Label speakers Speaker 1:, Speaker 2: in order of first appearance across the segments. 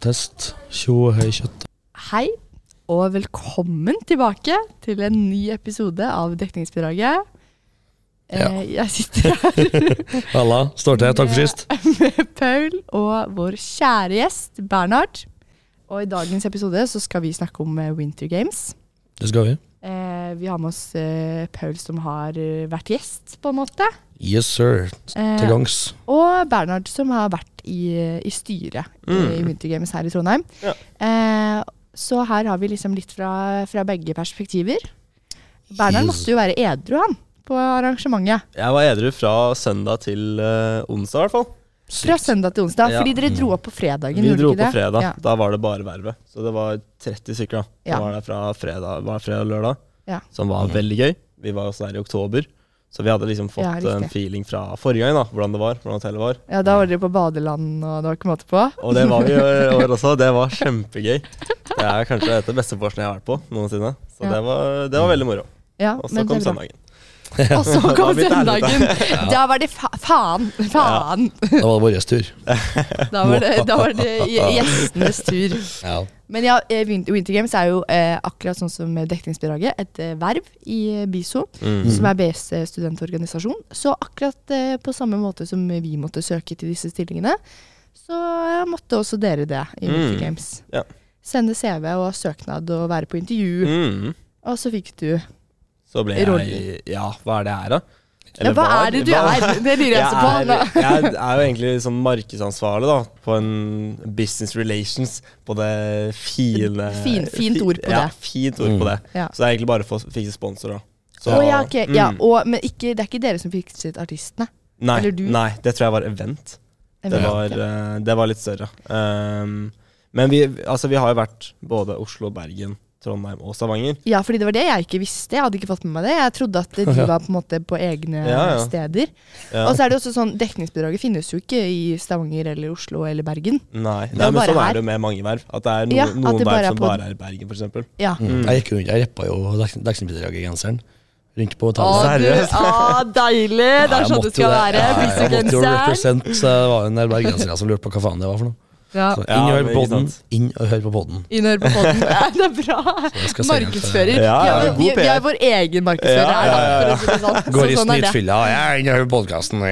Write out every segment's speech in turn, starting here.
Speaker 1: Kjøttest. Tjo og hei, kjøtt.
Speaker 2: Hei, og velkommen tilbake til en ny episode av Dekningsbidraget. Eh,
Speaker 1: Ja.
Speaker 2: Jeg sitter her
Speaker 1: Halla. Står til. Takk for sist.
Speaker 2: med Paul og vår kjære gjest Bernhard. Og i dagens episode så skal vi snakke om eh, Winter Games.
Speaker 1: Det skal vi.
Speaker 2: Eh, Vi har med oss eh, Paul som har eh, vært gjest, på en måte.
Speaker 1: Yes, sir.
Speaker 2: Eh,
Speaker 1: Til gangs.
Speaker 2: Og Bernhard, som har vært i, i styret eh, i
Speaker 3: Mm.
Speaker 2: Winter Games her i Trondheim. Eh, så her har vi liksom litt fra, fra begge perspektiver. Bernhard
Speaker 1: Jesus.
Speaker 2: måtte jo være edru, han, på arrangementet.
Speaker 3: Jeg var edru fra søndag til eh, onsdag, i hvert fall.
Speaker 2: Fra søndag til onsdag,
Speaker 3: Ja. Mm.
Speaker 2: fordi dere dro opp på fredagen.
Speaker 3: Vi
Speaker 2: gjorde
Speaker 3: dro
Speaker 2: dere
Speaker 3: på
Speaker 2: ikke det?
Speaker 3: fredag.
Speaker 2: Ja.
Speaker 3: Da var det bare vervet. Så det var 30 stykker da. Det
Speaker 2: Ja.
Speaker 3: var der fra fredag, var det fredag og lørdag,
Speaker 2: Ja.
Speaker 3: som var veldig gøy. Vi var også der i oktober. Så vi hadde liksom fått
Speaker 2: Ja, riktig.
Speaker 3: en feeling fra forrige gang, da, hvordan det var. hvordan hotellet var.
Speaker 2: ja, Da var dere på badeland, og det var ikke måte på.
Speaker 3: Og det var vi i år også. Det var kjempegøy. Det er kanskje et av de beste vorsen jeg har vært på noensinne. Så
Speaker 2: Ja.
Speaker 3: det, var, det var veldig moro.
Speaker 2: Ja,
Speaker 3: Og så
Speaker 2: men
Speaker 3: kom
Speaker 2: det er bra.
Speaker 3: søndagen.
Speaker 2: Og så
Speaker 3: Da
Speaker 2: kom
Speaker 3: var vi der, da.
Speaker 2: søndagen! Da var det fa faen! Faen!
Speaker 1: Da var det vår tur.
Speaker 2: Da var det, da var det gjestenes tur.
Speaker 1: Ja.
Speaker 2: Men ja, eh, Win- Winter Games er jo eh, akkurat sånn som dekningsbidraget, et eh, verv i eh, BISO,
Speaker 3: Mhm. Mm.
Speaker 2: som er BS studentorganisasjon. Så akkurat eh, på samme måte som vi måtte søke til disse stillingene, så eh, måtte også dere det i Winter
Speaker 3: Mm.
Speaker 2: Games.
Speaker 3: Ja.
Speaker 2: Sende CV og søknad og være på intervju.
Speaker 3: Mm.
Speaker 2: Og så fikk du
Speaker 3: Så ble
Speaker 2: Rolig.
Speaker 3: jeg Ja, hva er det her, da?
Speaker 2: Ja, hva er det du
Speaker 3: hva-
Speaker 2: er? Det lurer jeg også på.
Speaker 3: jeg,
Speaker 2: Anna.
Speaker 3: er, jeg er jo egentlig sånn markedsansvarlig da, på en business relations, på det fine
Speaker 2: Fin- fint ord på
Speaker 3: ja,
Speaker 2: det.
Speaker 3: fint ord på det.
Speaker 2: Ja.
Speaker 3: Så det er egentlig bare for å fikse sponsor, da. Så-
Speaker 2: Å, ja, ok, ja,
Speaker 3: mm.
Speaker 2: og, men ikke, det er ikke dere som fikset artistene.
Speaker 3: nei,
Speaker 2: eller du?
Speaker 3: nei, det tror jeg var event. Det var, eh, det var litt større. Um, men vi, altså, vi har jo vært både Oslo, Bergen, Trondheim og Stavanger.
Speaker 2: Ja, fordi det var det jeg ikke visste. Jeg hadde ikke fått med meg det. Jeg trodde at de var på en måte på egne
Speaker 3: Ja, ja.
Speaker 2: steder.
Speaker 3: Ja.
Speaker 2: Og så er det også sånn, dekningsbidraget finnes jo ikke i Stavanger eller Oslo eller Bergen.
Speaker 3: Nei,
Speaker 2: var
Speaker 3: nei men
Speaker 2: bare
Speaker 3: sånn
Speaker 2: her.
Speaker 3: er det jo med mange verv. At det er noen,
Speaker 2: Ja, at
Speaker 3: noen
Speaker 2: det bare
Speaker 3: verv
Speaker 2: er
Speaker 3: som
Speaker 2: på-
Speaker 3: bare er i Bergen, f.eks.
Speaker 2: Ja.
Speaker 1: Mm. Jeg gikk rundt. Jeg reppa jo dekningsbidraget-genseren. Rundt på
Speaker 2: Å,
Speaker 1: hotellet.
Speaker 2: du,
Speaker 3: Seriøst?
Speaker 2: å, deilig!
Speaker 1: Ja,
Speaker 2: Det er
Speaker 1: jeg
Speaker 2: sånn
Speaker 1: måtte
Speaker 2: det skal
Speaker 1: jo
Speaker 2: være.
Speaker 1: Ja, jeg måtte jo
Speaker 2: Bysegenseren.
Speaker 1: represent, så det var en del bergensere som lurte på hva faen det var for noe.
Speaker 2: Ja.
Speaker 1: Så
Speaker 3: Ja,
Speaker 1: inn og hør
Speaker 3: men
Speaker 1: på
Speaker 3: ikke
Speaker 1: podden.
Speaker 3: sant.
Speaker 1: Inn og hør på podden.
Speaker 2: Innhør på podden. Ja, det er bra!
Speaker 1: Jeg skal se helt, eh,
Speaker 2: Markedsfører.
Speaker 3: Ja, ja,
Speaker 2: Ja, vi,
Speaker 3: god
Speaker 2: vi er
Speaker 3: PR.
Speaker 2: vår egen markedsfører
Speaker 3: Ja,
Speaker 2: her, da.
Speaker 3: ja,
Speaker 2: For
Speaker 3: ja,
Speaker 2: å si det sånn.
Speaker 1: Går i
Speaker 2: Så sånn er det.
Speaker 1: snittfylla. Ja, inn og hør på podkasten.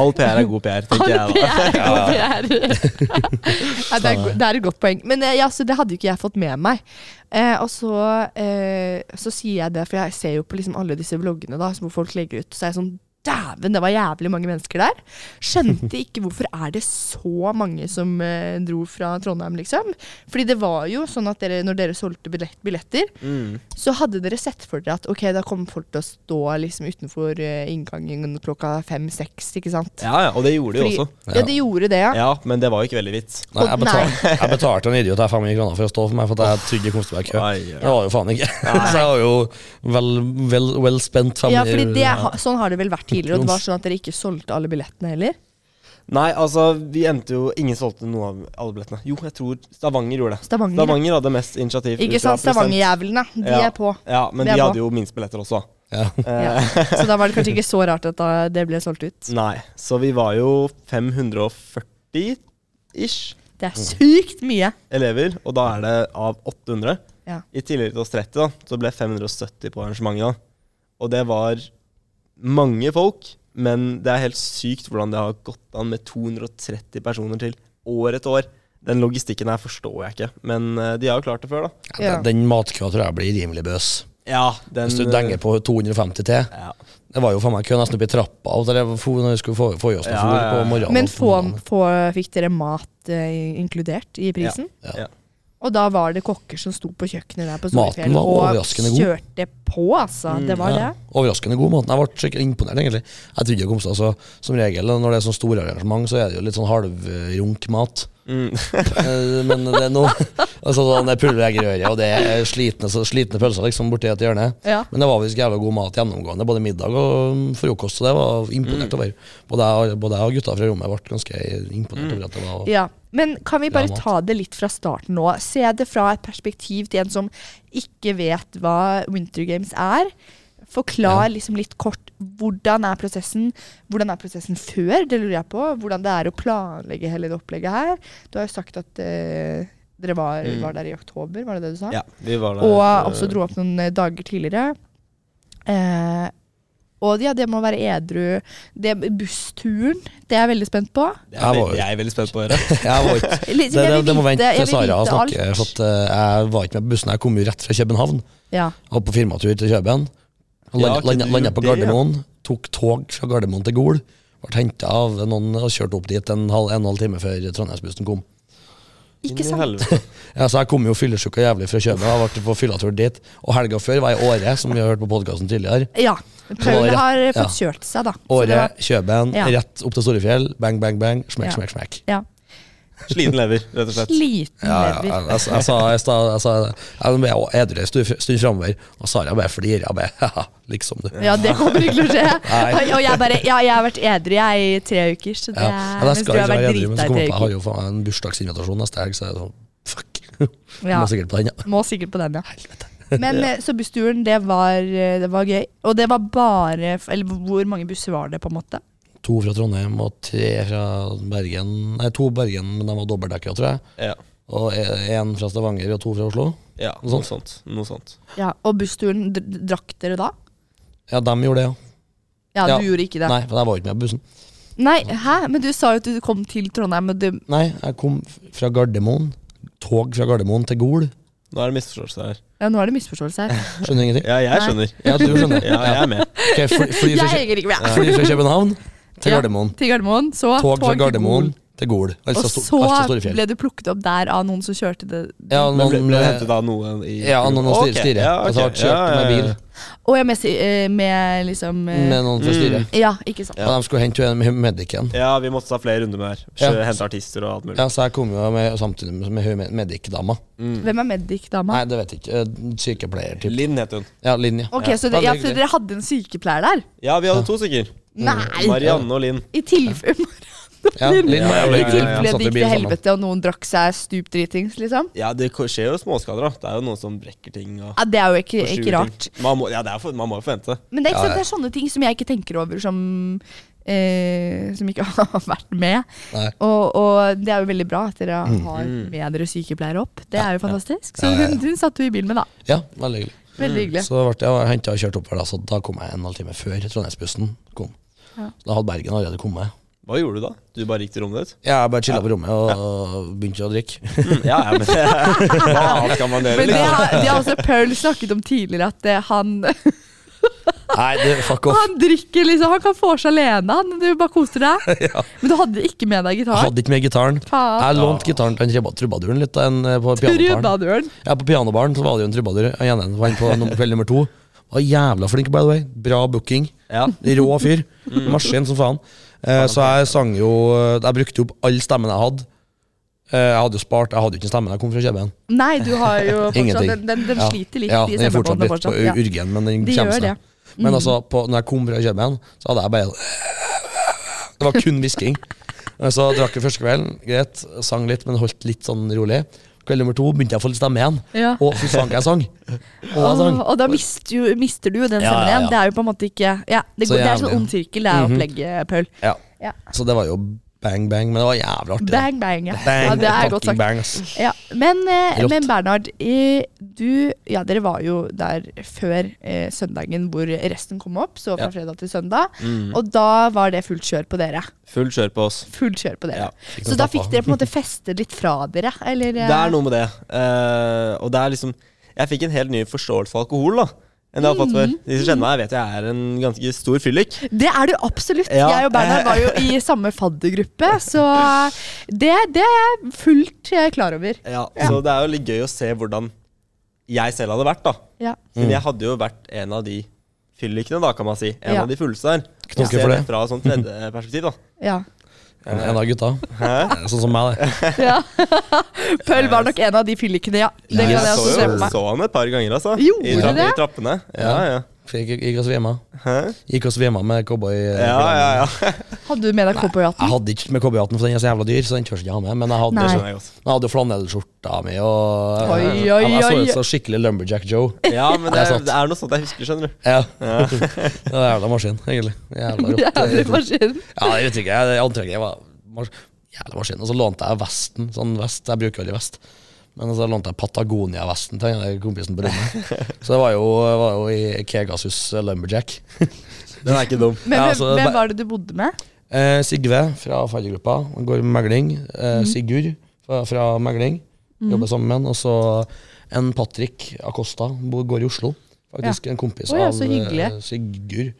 Speaker 3: All PR er god PR, tenker jeg da.
Speaker 2: PR, god PR. Nei, det, er, go- det er et godt poeng. Men eh, ja, så det hadde jo ikke jeg fått med meg. Eh, og så, eh, så sier jeg det, for jeg ser jo på liksom alle disse vloggene da, som hvor folk legger ut, så er jeg sånn Dæven, det var jævlig mange mennesker der. Skjønte ikke hvorfor er det så mange som eh, dro fra Trondheim, liksom. Fordi det var jo sånn at dere, når dere solgte billett, billetter,
Speaker 3: Mm.
Speaker 2: så hadde dere sett for dere at ok, da kommer folk til å stå liksom utenfor eh, inngangen klokka fem-seks, ikke sant.
Speaker 3: Ja, ja, og det gjorde de
Speaker 2: Fordi-
Speaker 3: også.
Speaker 2: Ja, de gjorde det, ja.
Speaker 3: Ja, men det var jo ikke veldig vits.
Speaker 1: Nei, jeg,
Speaker 2: Nei.
Speaker 1: betalte, jeg betalte en idiot her 500 kroner for å stå for meg, for at jeg trodde jeg kom til å være i kø.
Speaker 3: Oi, oi.
Speaker 1: Det var jo faen ikke. Så jeg var jo vel, vel, vel spent
Speaker 2: Ja,
Speaker 1: 500
Speaker 2: fordi det,
Speaker 1: ja.
Speaker 2: ha- Sånn har det vel vært tidligere, og det var sånn at dere ikke solgte alle billettene heller.
Speaker 3: Nei, altså, vi endte jo Ingen solgte noe av alle billettene. Jo, jeg tror Stavanger gjorde det.
Speaker 2: Stavanger, ja.
Speaker 3: hadde mest initiativ.
Speaker 2: Ikke sant? Stavangerjævlene, de
Speaker 3: Ja.
Speaker 2: er på.
Speaker 3: Ja, men
Speaker 2: Det er
Speaker 3: de
Speaker 2: bra.
Speaker 3: hadde jo minst billetter også.
Speaker 1: Eh.
Speaker 2: Ja. Så da var det kanskje ikke så rart at da det ble solgt ut.
Speaker 3: Nei, så vi var jo 540-ish
Speaker 2: Det er sykt mye!
Speaker 3: elever, og da er det av 800.
Speaker 2: Ja.
Speaker 3: I tillegg til oss 30, da, så ble 570 på arrangementet. da. Og det var mange folk, men det er helt sykt hvordan det har gått an med 230 personer til år etter år. Den logistikken her forstår jeg ikke, men eh, de har jo klart det før, da.
Speaker 1: Ja, den- Den matkøa tror jeg blir rimelig bøs.
Speaker 3: Ja, den eh,
Speaker 1: Hvis du denger på 250 til.
Speaker 3: Ja.
Speaker 1: Det var jo faen meg kø nesten oppi trappa og der jeg for, når jeg skulle få, få i oss noe
Speaker 3: Ja,
Speaker 1: fôr
Speaker 3: ja, ja.
Speaker 1: på morgenen. og
Speaker 2: Men
Speaker 1: på
Speaker 2: få,
Speaker 1: morgenen.
Speaker 2: få, fikk dere mat eh, inkludert i prisen?
Speaker 1: Ja,
Speaker 3: ja.
Speaker 2: Og da var det kokker som sto på kjøkkenet der på
Speaker 1: Maten
Speaker 2: Solfjell
Speaker 1: var
Speaker 2: og
Speaker 1: overraskende god. Mm,
Speaker 2: kjørte på, altså. Det var det.
Speaker 1: Ja, overraskende god måte. Jeg ble skikkelig imponert, egentlig. Jeg trodde jeg kom til altså, Som regel når det er sånn store arrangement, så er det jo litt sånn halvrunk mat. Eh, Men det er noe altså, sånn, Det er pulvereggerøre, og det er slitne, så, slitne pølser liksom borti et hjørne.
Speaker 2: Ja.
Speaker 1: Men det var visst jævla god mat gjennomgående, både middag og mm, frokost, så det var imponert over. Både jeg, både jeg og gutta fra rommet ble ganske imponert over at det var
Speaker 2: Ja, Men kan vi bare
Speaker 1: Bra mat.
Speaker 2: ta det litt fra starten nå? Se det fra et perspektiv til en som ikke vet hva Winter Games er. Forklar liksom litt kort hvordan er prosessen? Hvordan er prosessen før? Det lurer jeg på. Hvordan det er å planlegge hele det opplegget her. Du har jo sagt at eh, dere var,
Speaker 3: Mm.
Speaker 2: var der i oktober, var det det du sa?
Speaker 3: Ja, vi var der.
Speaker 2: Og
Speaker 3: eh,
Speaker 2: også dro opp noen eh, dager tidligere. Eh, og ja, det må være edru. Det, bussturen, det er jeg veldig spent på.
Speaker 3: Det
Speaker 1: Jeg
Speaker 3: er,
Speaker 1: var
Speaker 3: veldig,
Speaker 1: jo-
Speaker 3: jeg er veldig spent på å høre.
Speaker 1: Jeg var ikke
Speaker 2: Liksom,
Speaker 1: det,
Speaker 2: jeg
Speaker 1: det,
Speaker 2: vil
Speaker 1: det må
Speaker 2: vite-
Speaker 1: vente
Speaker 2: jeg
Speaker 1: til
Speaker 2: vil
Speaker 1: Sara
Speaker 2: vite alt.
Speaker 1: snakker. For at, eh, jeg var ikke med på bussen. Jeg kom jo rett fra København.
Speaker 2: Ja.
Speaker 1: Jeg var på firmatur til København.
Speaker 3: Ja,
Speaker 1: Landa
Speaker 3: kunne du
Speaker 1: landa
Speaker 3: gjort
Speaker 1: på
Speaker 3: det, ja.
Speaker 1: Gardermoen. Tok tog fra Gardermoen til Gol. Ble henta av noen og kjørt opp dit en, halv, en og en halv time før Trondheimsbussen kom.
Speaker 3: Inn i
Speaker 2: Ikke sant?
Speaker 3: helvete.
Speaker 1: Ja, så jeg kom jo fyllesyk og jævlig fra København. Jeg ble på fyllatur dit. Og helga før var jeg i Åre, som vi har hørt på podkasten tidligere.
Speaker 2: Ja. Paul
Speaker 1: rett-
Speaker 2: har eh,
Speaker 1: ja.
Speaker 2: fått kjørt seg, da. Så det
Speaker 1: Åre,
Speaker 2: var-
Speaker 1: København,
Speaker 2: Ja.
Speaker 1: rett opp til Storefjell. Bang, bang, bang. Smekk,
Speaker 2: Ja.
Speaker 1: smekk, smekk.
Speaker 2: Ja.
Speaker 3: Sliten lever, rett og slett.
Speaker 2: Sliten
Speaker 1: Ja, ja,
Speaker 2: lever.
Speaker 1: jeg, jeg, jeg sa jeg sa- jeg sa Jeg ble edru en stund stund framover, og Sara bare flirer. Jeg bare haha, liksom du.
Speaker 2: Ja, det kommer ikke til å skje.
Speaker 1: Nei.
Speaker 2: Og- Og jeg bare Ja, jeg har vært edru jeg i tre uker, så det
Speaker 1: Ja.
Speaker 2: er
Speaker 1: Men jeg
Speaker 2: mens
Speaker 1: skal
Speaker 2: du har
Speaker 1: ikke være
Speaker 2: vært
Speaker 1: edru, men så
Speaker 2: drita i
Speaker 1: kom jeg på
Speaker 2: tre
Speaker 1: jeg har
Speaker 2: uker.
Speaker 1: jo faen meg en bursdagsinvitasjon neste helg, så jeg er sånn fuck. Jeg
Speaker 2: Ja,
Speaker 1: Må sikkert på den, ja.
Speaker 2: må sikkert på den, ja.
Speaker 1: Helvete.
Speaker 2: Men
Speaker 3: Ja.
Speaker 2: eh, så bussturen, det var, eh, det var gøy. Og det var bare f- Eller hvor mange busser var det, på en måte?
Speaker 1: To fra Trondheim og tre fra Bergen. Nei, to Bergen, men de var dobbeltdekka, tror jeg.
Speaker 3: Ja.
Speaker 1: Og én fra Stavanger og to fra Oslo.
Speaker 3: ja, noe sånt. Noe sånt.
Speaker 2: Ja, Og bussturen, dr- dr- drakk dere da?
Speaker 1: Ja, dem gjorde det, ja.
Speaker 2: Ja,
Speaker 1: Ja.
Speaker 2: du gjorde ikke det.
Speaker 1: Nei, for jeg var jo ikke med på bussen.
Speaker 2: Nei, hæ? Men du sa jo at du kom til Trondheim, og du
Speaker 1: Nei, jeg kom f- fra Gardermoen. Tog fra Gardermoen til Gol.
Speaker 3: Nå er det misforståelse her.
Speaker 2: Ja, nå er det misforståelse her.
Speaker 1: Skjønner ingenting.
Speaker 3: Ja, jeg
Speaker 2: Nei.
Speaker 3: skjønner.
Speaker 1: Ja, du skjønner.
Speaker 3: Ja, jeg er med.
Speaker 1: Ok, fly, fly,
Speaker 2: Jeg
Speaker 1: fra, Kjø-
Speaker 2: henger ikke med.
Speaker 1: fly fra København til
Speaker 2: Ja.
Speaker 1: Gardermoen.
Speaker 2: Til Gardermoen, så
Speaker 1: Tog fra
Speaker 2: til
Speaker 1: Gardermoen
Speaker 2: Gol.
Speaker 1: til Gol.
Speaker 2: Og
Speaker 1: Altså, sto, altså
Speaker 2: så
Speaker 1: Storefjell.
Speaker 2: ble du plukket opp der av noen som kørte det
Speaker 1: Ja,
Speaker 3: Men ble,
Speaker 1: noen,
Speaker 3: ble det
Speaker 1: eh,
Speaker 3: hentet av noen i
Speaker 1: ja, noen av
Speaker 3: Ok,
Speaker 1: styret. styret.
Speaker 3: ja,
Speaker 1: Altså,
Speaker 3: ok.
Speaker 1: jeg har kjørt
Speaker 3: Ja, ja, ja.
Speaker 1: med bil.
Speaker 2: Å ja, med, si- eh, med liksom eh,
Speaker 1: med noen fra styret.
Speaker 2: Ja, ikke sant.
Speaker 1: Og de skulle hente jo en med medicen.
Speaker 3: Mm. Ja, vi måtte ta flere runder med her.
Speaker 1: Ja.
Speaker 3: Kjø- Hente artister og alt mulig.
Speaker 1: Ja, så jeg kom jo med, samtidig med, med hun med- medic-dama.
Speaker 2: Hvem er medic-dama?
Speaker 1: Mm. Nei, det vet jeg ikke. Eh, Sykepleier, typ.
Speaker 3: Linn het hun.
Speaker 1: Ja, Linn, ja.
Speaker 2: Ok,
Speaker 3: Ja.
Speaker 2: så det, ja,
Speaker 1: Veldig
Speaker 2: for
Speaker 1: hyggelig.
Speaker 2: Dere hadde en sykepleier der?
Speaker 3: Ja, vi hadde to stykker.
Speaker 2: Nei!
Speaker 3: Marianne og Linn.
Speaker 2: I tilfelle
Speaker 1: ja Linn var jævlig
Speaker 3: Ja,
Speaker 2: I
Speaker 1: hyggelig.
Speaker 3: ja, ja.
Speaker 1: Vi
Speaker 2: tilfelle
Speaker 1: satt i
Speaker 2: det gikk
Speaker 1: bilen
Speaker 2: til
Speaker 1: sammen.
Speaker 2: helvete og noen drakk seg stupdritings, liksom?
Speaker 3: Ja, det ko- skjer jo småskader, da. Det er jo noen som brekker ting. Og,
Speaker 2: Ja, Det er jo ikke,
Speaker 3: og sjuer
Speaker 2: ikke rart.
Speaker 3: Ting. Man må, ja, det er for, man må jo forvente.
Speaker 2: Men det er, ikke
Speaker 1: Ja,
Speaker 2: sant, det er sånne ting som jeg ikke tenker over, som eh, Som ikke har vært med.
Speaker 1: Nei. Mm.
Speaker 2: Og, og det er jo veldig bra at dere har med dere sykepleiere opp. Det er jo fantastisk. Så
Speaker 1: Ja, ja, ja.
Speaker 2: hun, hun satt du i bilen med, da.
Speaker 1: Ja, veldig hyggelig.
Speaker 2: Veldig hyggelig.
Speaker 1: Så ble jeg henta og kjørt oppover, da, så da kom jeg en halvtime før Trondheimsbussen kom.
Speaker 2: Ja.
Speaker 1: Da hadde Bergen allerede kommet.
Speaker 3: Hva gjorde du da? Du bare gikk til rommet ditt?
Speaker 1: Ja, Jeg bare chilla på rommet og begynte å drikke.
Speaker 3: Mm, ja, ja, men Hva annet skal man gjøre?
Speaker 2: Men det
Speaker 3: liksom?
Speaker 2: har,
Speaker 1: sånn.
Speaker 2: det har også Paul snakket om tidligere, at eh, han
Speaker 1: Nei, det, fuck off.
Speaker 2: Han drikker liksom, han kan få seg alene, han. Du bare koser deg. Men du hadde ikke med deg
Speaker 1: Jeg
Speaker 2: gitar.
Speaker 1: hadde ikke med gitaren.
Speaker 2: Faen.
Speaker 1: Jeg lånte gitaren til en treba- trubaduren litt. da, En, eh, på pianobaren.
Speaker 2: Trubadøren.
Speaker 1: Ja, på pianobaren så var det jo en trubadur. Han ene var inne på num- kveld nummer to. Var jævla flink, by the way. Bra booking.
Speaker 3: Ja.
Speaker 1: Rå fyr. Maskin som faen. Eh, så jeg sang jo eh, Jeg brukte opp all stemmen jeg hadde. Eh, jeg hadde jo spart Jeg hadde jo ikke stemme da jeg kom fra Kjøben.
Speaker 2: Nei, du har jo fortsatt
Speaker 1: Ingenting.
Speaker 2: Den, den, den
Speaker 1: Ja.
Speaker 2: sliter litt
Speaker 1: Ja,
Speaker 2: i
Speaker 1: den er fortsatt
Speaker 2: semmebåndet
Speaker 1: litt på
Speaker 2: fortsatt. Ja.
Speaker 1: urgen, men den
Speaker 2: De
Speaker 1: kommer
Speaker 2: gjør
Speaker 1: seg. Men altså, på, når jeg kom fra Kjøben, så hadde jeg bare Det var kun hvisking. Men Så drakk jeg første kvelden, greit. Sang litt, men holdt litt sånn rolig. Kveld nummer to begynte jeg å få litt stemme igjen.
Speaker 2: Ja.
Speaker 1: Å, fy faen, hva jeg sang. Og jeg sang.
Speaker 2: Åh, og da mister du, mister du jo den
Speaker 1: sånn. Ja, ja,
Speaker 2: stemmen igjen.
Speaker 1: ja.
Speaker 2: Det er jo på en måte ikke ja,
Speaker 1: Så
Speaker 2: det, går, det er
Speaker 1: jævlig. Mhm.
Speaker 2: sånn ond sirkel, det er opplegget, Paul.
Speaker 1: Ja.
Speaker 2: Ja.
Speaker 1: Så det var jo bang, bang, men det var jævlig artig. da.
Speaker 2: Bang, bang. Ja. ja, det er
Speaker 1: fucking
Speaker 2: godt sagt.
Speaker 1: Bang, ass.
Speaker 2: Ja, men, eh,
Speaker 1: Rått.
Speaker 2: men Bernhard, eh, du Ja, dere var jo der før eh, søndagen hvor resten kom opp, så fra
Speaker 3: Ja.
Speaker 2: fredag til søndag.
Speaker 1: Mm.
Speaker 2: Og da var det fullt kjør på dere.
Speaker 3: Full kjør på oss.
Speaker 2: Fullt kjør på dere.
Speaker 3: Ja,
Speaker 1: ikke
Speaker 2: så
Speaker 1: noe
Speaker 2: da
Speaker 1: pappa.
Speaker 2: fikk dere på en måte festet litt fra dere, eller? eh,
Speaker 3: Det er noe med det. Eh, og det er liksom Jeg fikk en helt ny forståelse for alkohol da enn jeg har fått
Speaker 2: Mm.
Speaker 3: før. De som kjenner meg, vet jeg er en ganske stor fyllik.
Speaker 2: eh, Det er du absolutt.
Speaker 3: Ja.
Speaker 2: Jeg og Bernhard var jo i samme faddergruppe, så det, det er jeg fullt eh, klar over.
Speaker 3: Ja, Så det er jo litt gøy å se hvordan jeg selv hadde vært. da
Speaker 2: Ja.
Speaker 3: Men jeg hadde jo vært en av de fyllikene, da, kan man si. En
Speaker 2: Ja.
Speaker 3: av de fulleste der.
Speaker 1: Knokke
Speaker 3: Se
Speaker 1: for det.
Speaker 3: Fra et sånt tredje perspektiv, da.
Speaker 2: ja.
Speaker 1: En, en av gutta.
Speaker 3: Hæ?
Speaker 1: Sånn som meg, det.
Speaker 2: ja. Pøl var nok en av de fyllikene, ja. Det kan
Speaker 1: Ja,
Speaker 2: jeg
Speaker 1: jeg
Speaker 3: så,
Speaker 2: også se
Speaker 3: jo,
Speaker 2: på meg.
Speaker 3: så han et par ganger, altså.
Speaker 2: Gjorde
Speaker 3: I,
Speaker 2: du det?
Speaker 3: I trappene. Ja, ja.
Speaker 1: Fikk, gikk og svima.
Speaker 3: Hæ?
Speaker 1: Gikk og svima med cowboy... eh,
Speaker 3: Ja, ja, ja.
Speaker 2: Hadde du med deg
Speaker 1: Jeg
Speaker 2: cowboyhatten?
Speaker 1: hadde ikke med cowboyhatten, for den er så jævla dyr. Så den tør ikke jeg ha med Men jeg hadde,
Speaker 2: Nei.
Speaker 3: Det skjønner jeg godt.
Speaker 1: jeg hadde jo flanellskjorte starta med og
Speaker 2: Oi, oi,
Speaker 1: Han jeg så
Speaker 2: oi.
Speaker 1: ut som skikkelig Lumberjack Joe.
Speaker 3: Ja, men
Speaker 1: Det
Speaker 3: det
Speaker 1: er
Speaker 3: er,
Speaker 1: sant.
Speaker 3: det er noe sånt jeg husker, skjønner du.
Speaker 1: Ja. det var jævla maskin, egentlig. Jævla
Speaker 2: Jævlig
Speaker 1: rått.
Speaker 2: maskin.
Speaker 1: Ja, jeg vet ikke, jeg, jeg antrekket jeg var mas jævla maskin. Og så lånte jeg vesten, sånn vest, jeg bruker veldig vest. Men så lånte jeg Patagonia-vesten til den kompisen på rommet. Så det var jo, var jo i Kegasus Lumberjack.
Speaker 3: Den er ikke dum.
Speaker 2: Men
Speaker 1: Ja,
Speaker 2: hvem,
Speaker 1: altså,
Speaker 2: hvem
Speaker 1: ba-
Speaker 2: var det du bodde med?
Speaker 1: Eh, Sigve fra Feidergruppa han går med megling.
Speaker 2: Mhm.
Speaker 1: Eh, Sigurd fra, fra megling jobber sammen med han. Og så en Patrick Acosta bor, går i Oslo. Faktisk en kompis
Speaker 2: Å ja,
Speaker 1: av
Speaker 2: så hyggelig.
Speaker 1: eh, Sigurd.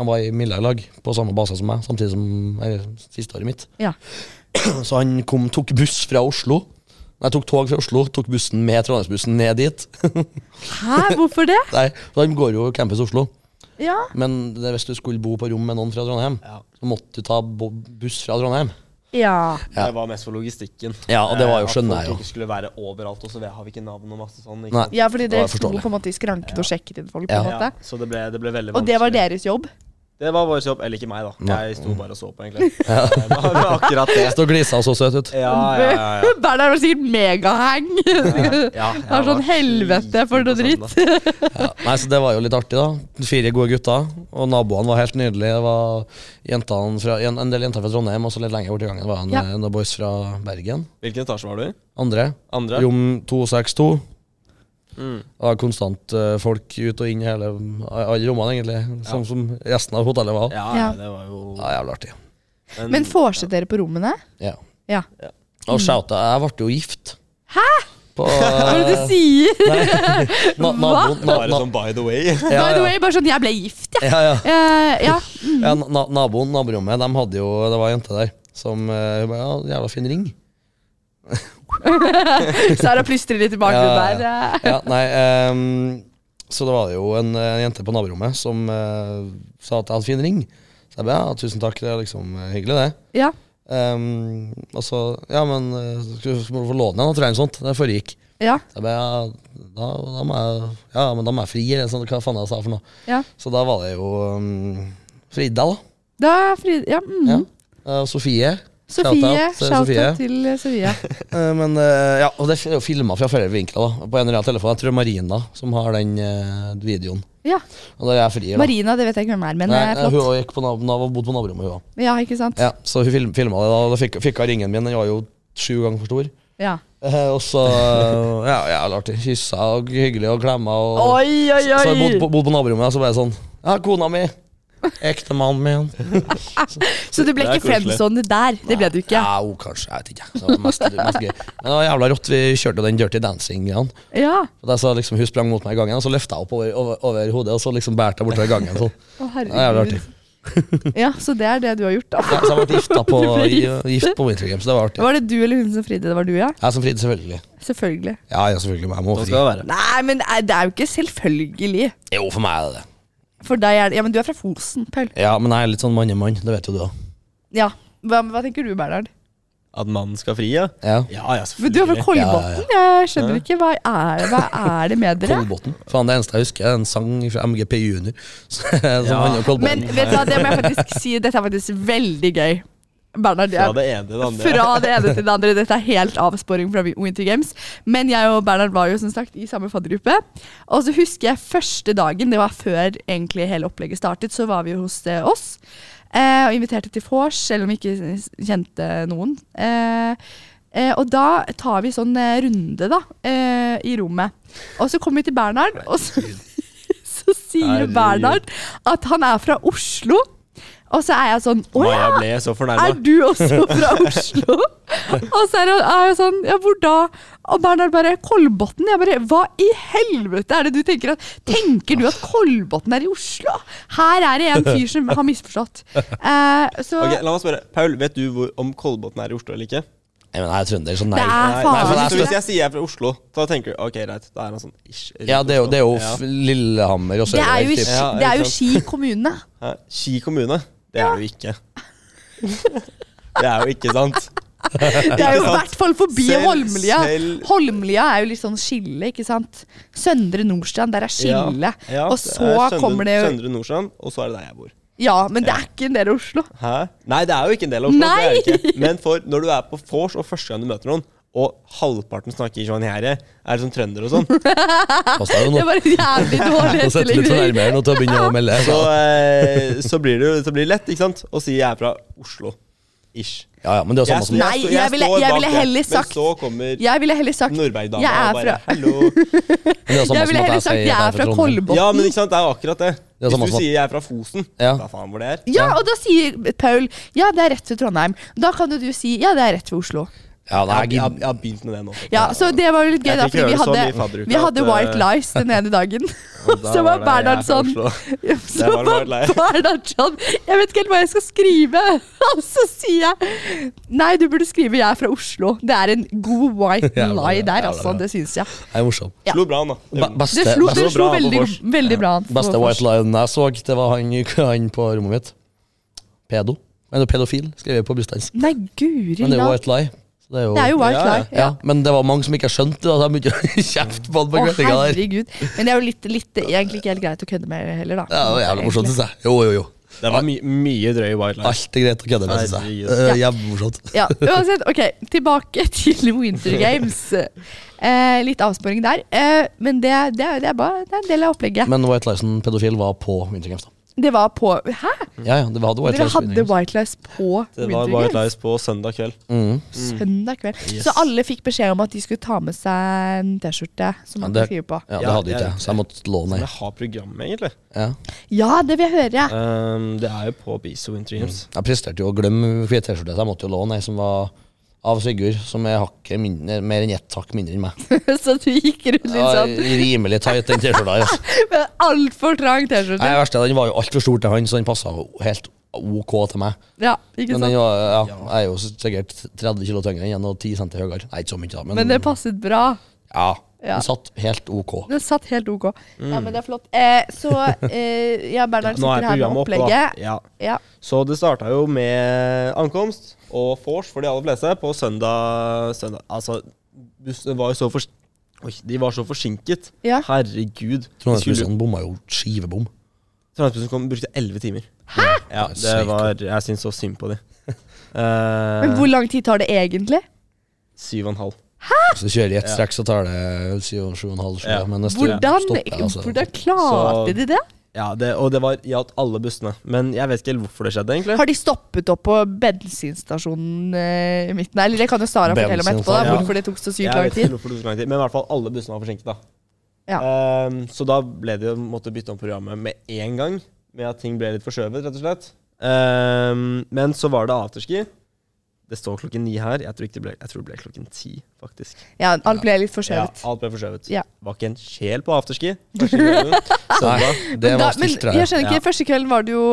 Speaker 1: Han var i Milla i lag, på samme base som meg, samtidig som eller, siste året mitt.
Speaker 2: Ja.
Speaker 1: Så han kom, tok buss fra Oslo. Nei, tok tog fra Oslo, tok bussen med Trondheimsbussen ned dit.
Speaker 2: Hæ, hvorfor det?
Speaker 1: Nei, så han går jo campus Oslo.
Speaker 2: Ja.
Speaker 1: Men det, hvis du skulle bo på rom med noen fra Trondheim,
Speaker 3: Ja.
Speaker 1: så måtte du ta bo- buss fra Trondheim.
Speaker 2: Ja.
Speaker 1: Ja.
Speaker 3: Det var mest for logistikken.
Speaker 1: Ja, og det var jo-
Speaker 3: Eh,
Speaker 1: skjønner
Speaker 3: At
Speaker 1: jeg jo.
Speaker 3: folk ikke skulle være overalt, og så har vi ikke navn og masse sånn. Ikke
Speaker 1: Nei.
Speaker 3: sant?
Speaker 2: ja,
Speaker 1: Det
Speaker 2: fordi
Speaker 1: var
Speaker 2: dere sto
Speaker 1: forståelig.
Speaker 2: på en måte i skranken og sjekket inn folk. på
Speaker 1: Ja.
Speaker 2: en måte.
Speaker 3: Ja, så det ble, det ble veldig vanskelig.
Speaker 2: Og det var deres jobb?
Speaker 3: Det var vår jobb. Eller ikke meg, da.
Speaker 1: Nei. Mm.
Speaker 3: Jeg sto bare og så på, egentlig. Eh, Det var det var akkurat det.
Speaker 1: Stå og glisa så søt ut.
Speaker 3: Ja, ja, ja. ja.
Speaker 2: Bernhard var sikkert megaheng!
Speaker 3: ja jeg
Speaker 2: Det er sånn
Speaker 3: var
Speaker 2: helvete for noe
Speaker 3: sliten
Speaker 2: dritt.
Speaker 3: på søndag.
Speaker 1: Ja, nei, så Det var jo litt artig, da. Fire gode gutter. Og naboene var helt nydelige. Det var jentene fra, en, en del jenter fra Trondheim, og så litt lenger bort i gangen var en,
Speaker 2: Ja.
Speaker 1: eh, noen boys fra Bergen.
Speaker 3: Hvilken etasje var du i?
Speaker 1: Andre.
Speaker 3: Andre?
Speaker 1: Rom 262.
Speaker 3: Mm.
Speaker 1: Det var konstant eh, folk ut og inn i hele alle rommene, egentlig. Sånn som resten av hotellet var.
Speaker 3: Ja,
Speaker 2: Ja.
Speaker 3: det var jo
Speaker 1: Ja, jævlig artig.
Speaker 2: Men vorset dere på rommene?
Speaker 1: Ja.
Speaker 2: Ja.
Speaker 1: Og shouta Jeg ble jo gift. Hæ?! På
Speaker 2: Hva er det du
Speaker 1: eh,
Speaker 2: sier?
Speaker 1: na, naboen, na,
Speaker 3: Bare
Speaker 1: na,
Speaker 3: sånn by the way.
Speaker 1: ja,
Speaker 2: By the
Speaker 1: ja.
Speaker 2: way, bare sånn jeg ble gift, jeg.
Speaker 1: Ja, ja.
Speaker 2: Eh, ja.
Speaker 1: Ja, na naboen, naborommet, de hadde jo Det var ei jente der som eh, hun ba, Ja, jævla fin ring.
Speaker 2: Sara plystrer litt i
Speaker 1: Ja,
Speaker 2: bakgrunnen der. Eh,
Speaker 1: Ja, nei ehm, Så det var jo en, eh, jente på naborommet som eh, sa at jeg hadde fin ring. Så jeg ba ja, tusen takk, det er liksom eh, hyggelig, det.
Speaker 2: Ja.
Speaker 1: Ehm, og så Ja, men eh, skal du- må du få låne den, da, tror jeg, eller sånt. Det foregikk.
Speaker 2: Ja.
Speaker 1: Så jeg ba ja, da, da må jeg Ja, men da må jeg fri, eller sånn, hva faen jeg sa for noe.
Speaker 2: ja.
Speaker 1: Så da var det jo um, fridag, da.
Speaker 2: Da er Fride Ja. Mm.
Speaker 1: Ja. Eh, Sofie.
Speaker 2: Sofie.
Speaker 1: Shout-out til Sofie.
Speaker 2: Shout-out til eh, Sofie.
Speaker 1: Eh, Men eh, ja, og det er jo filma fra flere vinkler. da På en eller annen telefon. Jeg tror det er Marina som har den eh, videoen.
Speaker 2: Ja.
Speaker 1: Og da er jeg fri. da
Speaker 2: Marina, det vet jeg ikke hvem er, men
Speaker 1: Nei,
Speaker 2: eh,
Speaker 1: eh, Hun
Speaker 2: flott.
Speaker 1: også gikk på nab nab bodde på naborommet, hun òg.
Speaker 2: Ja, ikke sant?
Speaker 1: Ja, så hun film filma det. Da og da fikk, fikk hun ringen min. Den var jo sju ganger for stor.
Speaker 2: Ja.
Speaker 1: Eh, og så eh, Ja, jævlig artig. Kyssa og hyggelig og klemma. Og,
Speaker 2: Oi, oi,
Speaker 1: Så jeg bodde
Speaker 2: oi!
Speaker 1: på, bodde på naborommet, og så ble jeg sånn Ja, kona mi. Ektemannen min.
Speaker 2: Så du ble
Speaker 3: Det er
Speaker 2: ikke friendzoned der. Det ble du ikke.
Speaker 1: Ja, hun kanskje. Jeg vet ikke. Så det var mest, mest gøy. Men det var jævla rått. Vi kjørte jo den Dirty Dancing-greia.
Speaker 2: Ja.
Speaker 1: Og da så liksom Hun sprang mot meg i gangen, og så løfta jeg opp over, over, over hodet, og så liksom bærte jeg bortover gangen. Sånn.
Speaker 2: Å,
Speaker 1: Det var jævlig
Speaker 2: herregud.
Speaker 1: artig.
Speaker 2: Ja, så det er det du har gjort, da.
Speaker 1: Ja, så jeg ble gifta på,
Speaker 2: Du ble gift.
Speaker 1: i- gift på Winter Games. Det var artig.
Speaker 2: Var det du eller hun som fridde? Det var du, ja?
Speaker 1: Jeg som fridde, selvfølgelig.
Speaker 2: Selvfølgelig.
Speaker 1: Ja, ja, selvfølgelig. men Jeg må
Speaker 3: Sånn
Speaker 1: fri.
Speaker 3: skal det være.
Speaker 2: Nei, men eh, det er jo ikke selvfølgelig.
Speaker 1: Jo, for meg er det det.
Speaker 2: For deg er det Ja, men du er fra Fosen, Paul.
Speaker 1: Ja, men jeg er litt sånn mannemann. Det vet jo du òg.
Speaker 2: Ja. Hva, hva tenker du, Bernhard?
Speaker 3: At mannen skal fri, ja?
Speaker 1: Ja.
Speaker 3: Ja, ja,
Speaker 2: Men du er fra
Speaker 3: selvfølgelig.
Speaker 1: Ja,
Speaker 2: Kolbotn? Jeg skjønner ikke. Hva er, hva er det med dere?
Speaker 1: Kolbotn. Faen, det eneste jeg husker, er en sang fra MGP Junior som
Speaker 3: Ja.
Speaker 1: handler om
Speaker 2: Men
Speaker 1: Kolbotn.
Speaker 2: vet du hva, det må jeg faktisk si. Dette er faktisk veldig gøy. Bernhard,
Speaker 3: Fra
Speaker 2: jeg,
Speaker 3: det ene til det andre.
Speaker 2: fra det ene til det andre. Dette er helt avsporing fra Winter Games. Men jeg og Bernhard var jo som sagt i samme faddergruppe. Og så husker jeg første dagen, det var før egentlig hele opplegget startet, så var vi jo hos eh, oss. Eh, og inviterte til vors, selv om vi ikke s- kjente noen. Eh, eh, og da tar vi sånn eh, runde, da, eh, i rommet. Og så kommer vi til Bernhard, og så, så sier
Speaker 3: Herregud.
Speaker 2: Bernhard at han er fra Oslo. Og så er jeg sånn Å ja!
Speaker 3: Maja ble så
Speaker 2: Er
Speaker 3: fornærma.
Speaker 2: du også fra Oslo? og så er han- er jeg sånn, ja, hvor da? Og Bernhard bare, Kolbotn. Jeg bare, hva i helvete er det du tenker at Tenker du at Kolbotn er i Oslo? Her er det en fyr som har misforstått. Eh, så
Speaker 3: Ok, la meg spørre. Paul, vet du hvor, om Kolbotn er i Oslo eller ikke?
Speaker 1: Nei, men jeg er trønder, så
Speaker 2: det
Speaker 1: nei.
Speaker 2: er
Speaker 1: Nei, for
Speaker 2: faen
Speaker 1: det
Speaker 3: så
Speaker 1: er-
Speaker 3: hvis
Speaker 2: ikke
Speaker 3: jeg sier jeg er fra Oslo, da tenker du ok, greit, da er han sånn ish. rundt
Speaker 1: Ja, det er jo, det er jo f-
Speaker 3: Oslo.
Speaker 1: Lillehammer og
Speaker 2: Det er jo,
Speaker 1: sørover.
Speaker 2: i
Speaker 1: typ.
Speaker 2: Ski- det er jo Ski kommune.
Speaker 3: Hæ? Ski kommune? Det er det jo ikke. Det er jo ikke sant.
Speaker 2: Det er jo i
Speaker 3: Ikke sant?
Speaker 2: hvert fall forbi
Speaker 3: Selv-
Speaker 2: Holmlia.
Speaker 3: selv-
Speaker 2: Holmlia er jo litt sånn skille, ikke sant? Søndre Nordstrand, der er skille.
Speaker 3: Ja, ja,
Speaker 2: Og
Speaker 3: det er
Speaker 2: så kommer det jo
Speaker 3: Søndre Nordstrand, og så er det der jeg bor.
Speaker 2: Ja, men det er ikke en del av Oslo.
Speaker 3: Hæ? Nei, det er jo ikke en del av Oslo.
Speaker 2: Nei!
Speaker 3: Det er det ikke. Men for når du er på vors og første gang du møter noen, og halvparten snakker kvangjære, er liksom trønder og sånn.
Speaker 1: Pass deg jo
Speaker 2: Det
Speaker 1: nå.
Speaker 2: var en jævlig dårlig
Speaker 1: Nå setter du litt
Speaker 2: etterligning.
Speaker 1: nærmere nå til å begynne å melde.
Speaker 3: Så, eh, så blir det jo så blir det lett ikke sant? å si jeg er fra Oslo. Ish.
Speaker 1: Ja, ja, men det er jo samme som
Speaker 2: Nei, jeg ville-
Speaker 3: står
Speaker 2: jeg
Speaker 3: bak
Speaker 2: ville
Speaker 3: det,
Speaker 2: heller sagt-
Speaker 3: Men så kommer
Speaker 2: Jeg ville heller sagt
Speaker 3: Nordberg-dama
Speaker 2: jeg er
Speaker 3: og bare
Speaker 2: fra-
Speaker 3: Hallo.
Speaker 1: men det er jo samme
Speaker 2: Jeg ville
Speaker 1: som at
Speaker 2: heller sagt
Speaker 1: sier
Speaker 2: jeg
Speaker 1: at
Speaker 2: er fra
Speaker 1: Trondheim.
Speaker 2: Kolbotn.
Speaker 3: Ja, men ikke sant, det er jo akkurat det.
Speaker 1: Det er samme
Speaker 3: Hvis du
Speaker 1: som-
Speaker 3: sier jeg er fra Fosen,
Speaker 1: Ja.
Speaker 3: da faen hvor det er.
Speaker 2: Ja, og da sier Paul ja, det er rett ved Trondheim. Da kan jo du si ja, det er rett ved Oslo.
Speaker 1: Ja, nei,
Speaker 3: Jeg,
Speaker 1: jeg
Speaker 3: jeg, jeg
Speaker 1: gidder-
Speaker 3: har begynt med det nå.
Speaker 2: Ja, Så det var jo litt gøy,
Speaker 3: Jeg
Speaker 2: da,
Speaker 3: fikk
Speaker 2: fordi vi
Speaker 3: høre så
Speaker 2: hadde,
Speaker 3: mye fadderuker
Speaker 2: vi hadde
Speaker 3: at,
Speaker 2: White
Speaker 3: eh,
Speaker 2: Lies den ene dagen. Og
Speaker 3: da
Speaker 2: så
Speaker 3: var
Speaker 2: var
Speaker 3: det jeg er
Speaker 2: Bernhard
Speaker 3: fra
Speaker 2: sånn
Speaker 3: Oslo.
Speaker 2: Så
Speaker 3: var
Speaker 2: var
Speaker 3: White Lies.
Speaker 2: Bernhard sånn Jeg vet ikke helt hva jeg skal skrive. Og så sier jeg Nei, du burde skrive 'Jeg er fra Oslo'. Det er en god white
Speaker 1: Jævla
Speaker 2: lie
Speaker 1: bra,
Speaker 2: der,
Speaker 1: jævla
Speaker 2: altså.
Speaker 1: bra.
Speaker 2: Det syns jeg.
Speaker 1: jeg er morsom.
Speaker 2: Ja.
Speaker 3: Slo bra, han, da.
Speaker 1: Ba-
Speaker 3: Det-
Speaker 2: Det
Speaker 1: Beste,
Speaker 2: slo,
Speaker 1: beste,
Speaker 2: det slo
Speaker 3: det var bra på
Speaker 2: veldig,
Speaker 3: vors.
Speaker 2: veldig bra. på
Speaker 1: beste
Speaker 2: vors.
Speaker 1: white lion jeg så, det var han, han på rommet mitt. Pedo. Eller pedofil, skrev jeg på bursdagen.
Speaker 2: Nei, guri
Speaker 1: Men det er jo
Speaker 2: land.
Speaker 1: white lie. Så det er jo,
Speaker 2: Det er jo white
Speaker 3: Ja, ja.
Speaker 2: lie.
Speaker 1: ja. men det var mange som ikke skjønte det, så jeg begynte å kjefte på han på
Speaker 2: Å,
Speaker 1: kveldinga der.
Speaker 2: herregud. Men det er jo litt, litt egentlig ikke helt greit å kødde med heller, da.
Speaker 1: Ja, det var jævlig morsomt, synes jeg. Jo, jo, jo.
Speaker 3: Det var my mye drøy White Lies.
Speaker 1: Alt er greit å kødde med, synes jeg.
Speaker 3: Herregud.
Speaker 1: Eh, Jævlig morsomt.
Speaker 2: Ja, uansett, ok, tilbake til Winter Games. Eh, litt avsporing der. Eh, men det, det, er- det, er bare, det er en del av opplegget.
Speaker 1: Men White Lyson pedofil var på Winter Games, da.
Speaker 2: Det var på Hæ?
Speaker 1: Ja, ja, det hadde White
Speaker 2: Mm. Dere
Speaker 1: Lies på Winter
Speaker 2: hadde
Speaker 1: Games.
Speaker 2: White Lies på
Speaker 3: Det var
Speaker 2: Winter
Speaker 3: White
Speaker 2: Games
Speaker 3: Lies på søndag kveld.
Speaker 1: Mhm.
Speaker 2: søndag kveld?
Speaker 3: Yes.
Speaker 2: Så alle fikk beskjed om at de skulle ta med seg en T-skjorte som man
Speaker 1: det-
Speaker 2: kan skrive på?
Speaker 1: Ja, det
Speaker 3: Ja,
Speaker 1: hadde
Speaker 3: ja,
Speaker 1: ikke jeg, så jeg måtte låne
Speaker 3: Men
Speaker 1: ei.
Speaker 3: jeg har programmet, egentlig.
Speaker 1: Ja.
Speaker 2: Ja, det vil jeg høre!
Speaker 3: Ehm, det er jo på Biso Winter
Speaker 2: Mm.
Speaker 3: Games.
Speaker 1: Jeg presterte jo å glemme hvit T-skjorte, så jeg måtte jo låne ei som var av Sigurd, som er hakket mindre, mer enn ett hakk mindre enn meg.
Speaker 2: Så du gikk rundt litt
Speaker 1: Ja,
Speaker 2: sånn
Speaker 1: rimelig tight, den T-skjorta. her, Altså.
Speaker 2: med altfor trang T-skjorte.
Speaker 1: Nei, det verste, er at den var jo altfor stor til han, så den passa helt OK til meg.
Speaker 2: Ja, ikke
Speaker 1: Men
Speaker 2: sant?
Speaker 1: den var, ja, jeg er jo sikkert 30 kilo tyngre enn han og 10 cm høyere. Nei, ikke så mye, da, men,
Speaker 2: Men det passet bra.
Speaker 1: ja,
Speaker 2: Ja.
Speaker 1: den satt helt OK.
Speaker 2: Den satt helt ok. Ja, men det er flott. Eh, så eh, ja, Bernhard
Speaker 3: Nå
Speaker 2: sitter
Speaker 3: er
Speaker 2: her med
Speaker 3: programmet oppe, da.
Speaker 2: opplegget.
Speaker 3: Ja.
Speaker 2: Ja.
Speaker 3: Så det starta jo med ankomst og vors for de aller fleste på søndag. søndag. Altså, bussene var jo så fors Oi, de var så forsinket.
Speaker 2: Ja.
Speaker 3: Herregud. De skulle-
Speaker 1: Trondheimsbussene bomma jo skivebom.
Speaker 3: Trondheimsbussen kom brukte elleve timer.
Speaker 1: Det er
Speaker 3: Ja, det
Speaker 1: sykt.
Speaker 3: var, Jeg syns så synd på de.
Speaker 2: Men
Speaker 3: Eh,
Speaker 2: hvor lang tid tar det egentlig?
Speaker 3: syv og en halv.
Speaker 1: Så kjører de ett strekk, så tar det 7,5-7,5.
Speaker 3: Ja.
Speaker 1: Men neste
Speaker 2: Hvordan,
Speaker 1: stopper jeg, altså.
Speaker 2: hvordan klarte
Speaker 3: Så-
Speaker 2: de det?
Speaker 3: Ja, det, og det var gjaldt alle bussene. Men jeg vet ikke helt hvorfor det skjedde, egentlig.
Speaker 2: Har de stoppet opp på bensinstasjonen eh, i midten? Eller det kan jo Sara fortelle om etterpå, da,
Speaker 1: Bensinstasjon.
Speaker 2: hvorfor det tok så sykt
Speaker 3: Jeg
Speaker 2: lang
Speaker 3: vet ikke
Speaker 2: tid.
Speaker 3: hvorfor det tok så lang tid Men i hvert fall alle bussene var forsinket, da.
Speaker 2: Ja.
Speaker 3: Ehm, så da ble det jo måtte bytte om programmet med en gang. Med at ting ble litt forskjøvet, rett og slett. Ehm, men så var det afterski. Det står klokken ni her. Jeg tror, ikke det, ble, jeg tror det ble klokken ti, faktisk.
Speaker 2: Ja, alt ble litt forskjøvet.
Speaker 3: Ja, alt ble forskjøvet.
Speaker 2: Ja.
Speaker 3: Var ikke en sjel på afterski. første kvelden. Søndag.
Speaker 1: Nei, det
Speaker 2: men, da,
Speaker 1: var
Speaker 2: men
Speaker 1: stilt,
Speaker 2: jeg
Speaker 1: det.
Speaker 2: skjønner ikke,
Speaker 3: Ja.
Speaker 2: første kvelden var det jo,